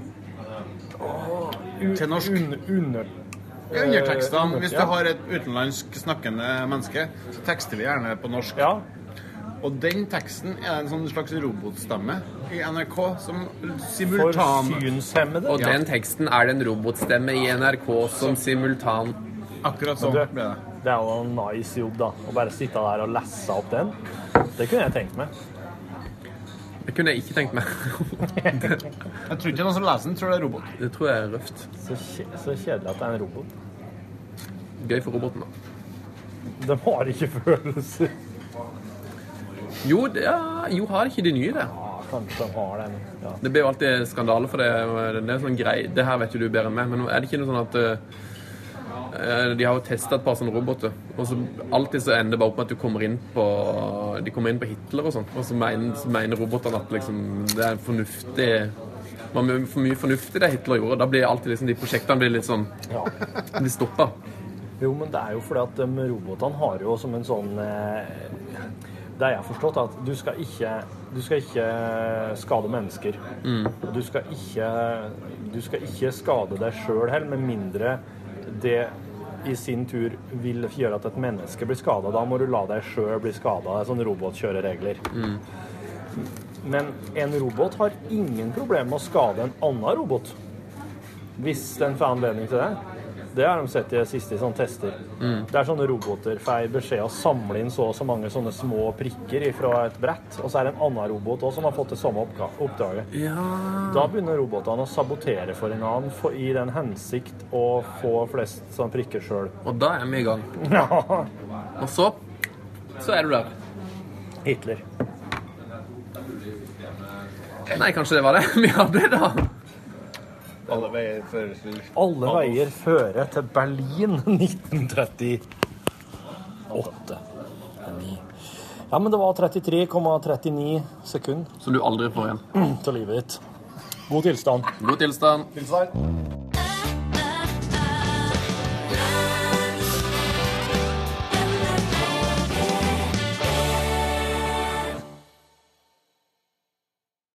[SPEAKER 9] Til norsk.
[SPEAKER 5] Under...
[SPEAKER 9] Ja, Undertekstene.
[SPEAKER 5] Eh,
[SPEAKER 9] Hvis du
[SPEAKER 5] ja.
[SPEAKER 9] har et utenlandsk snakkende menneske, så tekster vi gjerne på norsk. Og den teksten er en sånn slags robotstemme i NRK som simultan...
[SPEAKER 13] Og
[SPEAKER 9] Ja.
[SPEAKER 13] den teksten er det en robotstemme i NRK som simultan
[SPEAKER 9] Akkurat sånn
[SPEAKER 5] Men du, Det er jo en nice jobb, da. Å bare sitte der og lesse opp den. Det kunne jeg tenkt meg.
[SPEAKER 13] Det kunne jeg ikke tenkt meg.
[SPEAKER 9] jeg tror ikke noen som leser den, tror det er robot.
[SPEAKER 13] Det tror jeg er røft.
[SPEAKER 5] Så, kje, så kjedelig at det er en robot.
[SPEAKER 13] Gøy for roboten, da.
[SPEAKER 5] De har ikke følelser.
[SPEAKER 13] Jo, det er, jo har ikke de nye det.
[SPEAKER 5] Kanskje de har den. Ja.
[SPEAKER 13] Det blir jo alltid skandale for det. Det er sånn grei, det her vet jo du bedre enn meg, men er det ikke noe sånn at eh, de har jo testa et par sånne roboter, og så alltid så ender det bare opp med at du kommer inn på de kommer inn på Hitler og sånn, og så mener, så mener robotene at liksom, det er fornuftig man er for mye fornuftig det Hitler gjorde. Da blir alltid liksom, de prosjektene blir litt sånn
[SPEAKER 5] Ja.
[SPEAKER 13] blir stoppa.
[SPEAKER 5] Jo, men det er jo fordi at de robotene har jo som en sånn eh, Det jeg har forstått, er at du skal ikke, du skal ikke eh, skade mennesker.
[SPEAKER 13] Mm.
[SPEAKER 5] Og du skal ikke, du skal ikke skade deg sjøl heller, med mindre det i sin tur vil gjøre at et menneske blir skada. Da må du la deg sjøl bli skada. Det er sånne robotkjøreregler. Men en robot har ingen problem med å skade en annen robot. Hvis den får anledning til det. Det har de sett i det siste i sånne tester.
[SPEAKER 13] Mm.
[SPEAKER 5] Det er sånne roboter får beskjed å samle inn så og så mange sånne små prikker fra et brett, og så er det en annen robot også som har fått det samme oppga- oppdraget. Da begynner robotene å sabotere for en annen for, i den hensikt å få flest sånne prikker sjøl.
[SPEAKER 13] Og da er vi i gang.
[SPEAKER 5] Ja.
[SPEAKER 13] Og så så er du der.
[SPEAKER 5] Hitler.
[SPEAKER 13] Nei, kanskje det var det vi hadde, da.
[SPEAKER 9] Alle veier fører til
[SPEAKER 5] Alle veier fører til Berlin 1938. Ja, men det var 33,39 sekunder
[SPEAKER 13] Som du aldri får igjen.
[SPEAKER 5] til livet ditt. God tilstand.
[SPEAKER 13] God tilstand.
[SPEAKER 9] Tilstand.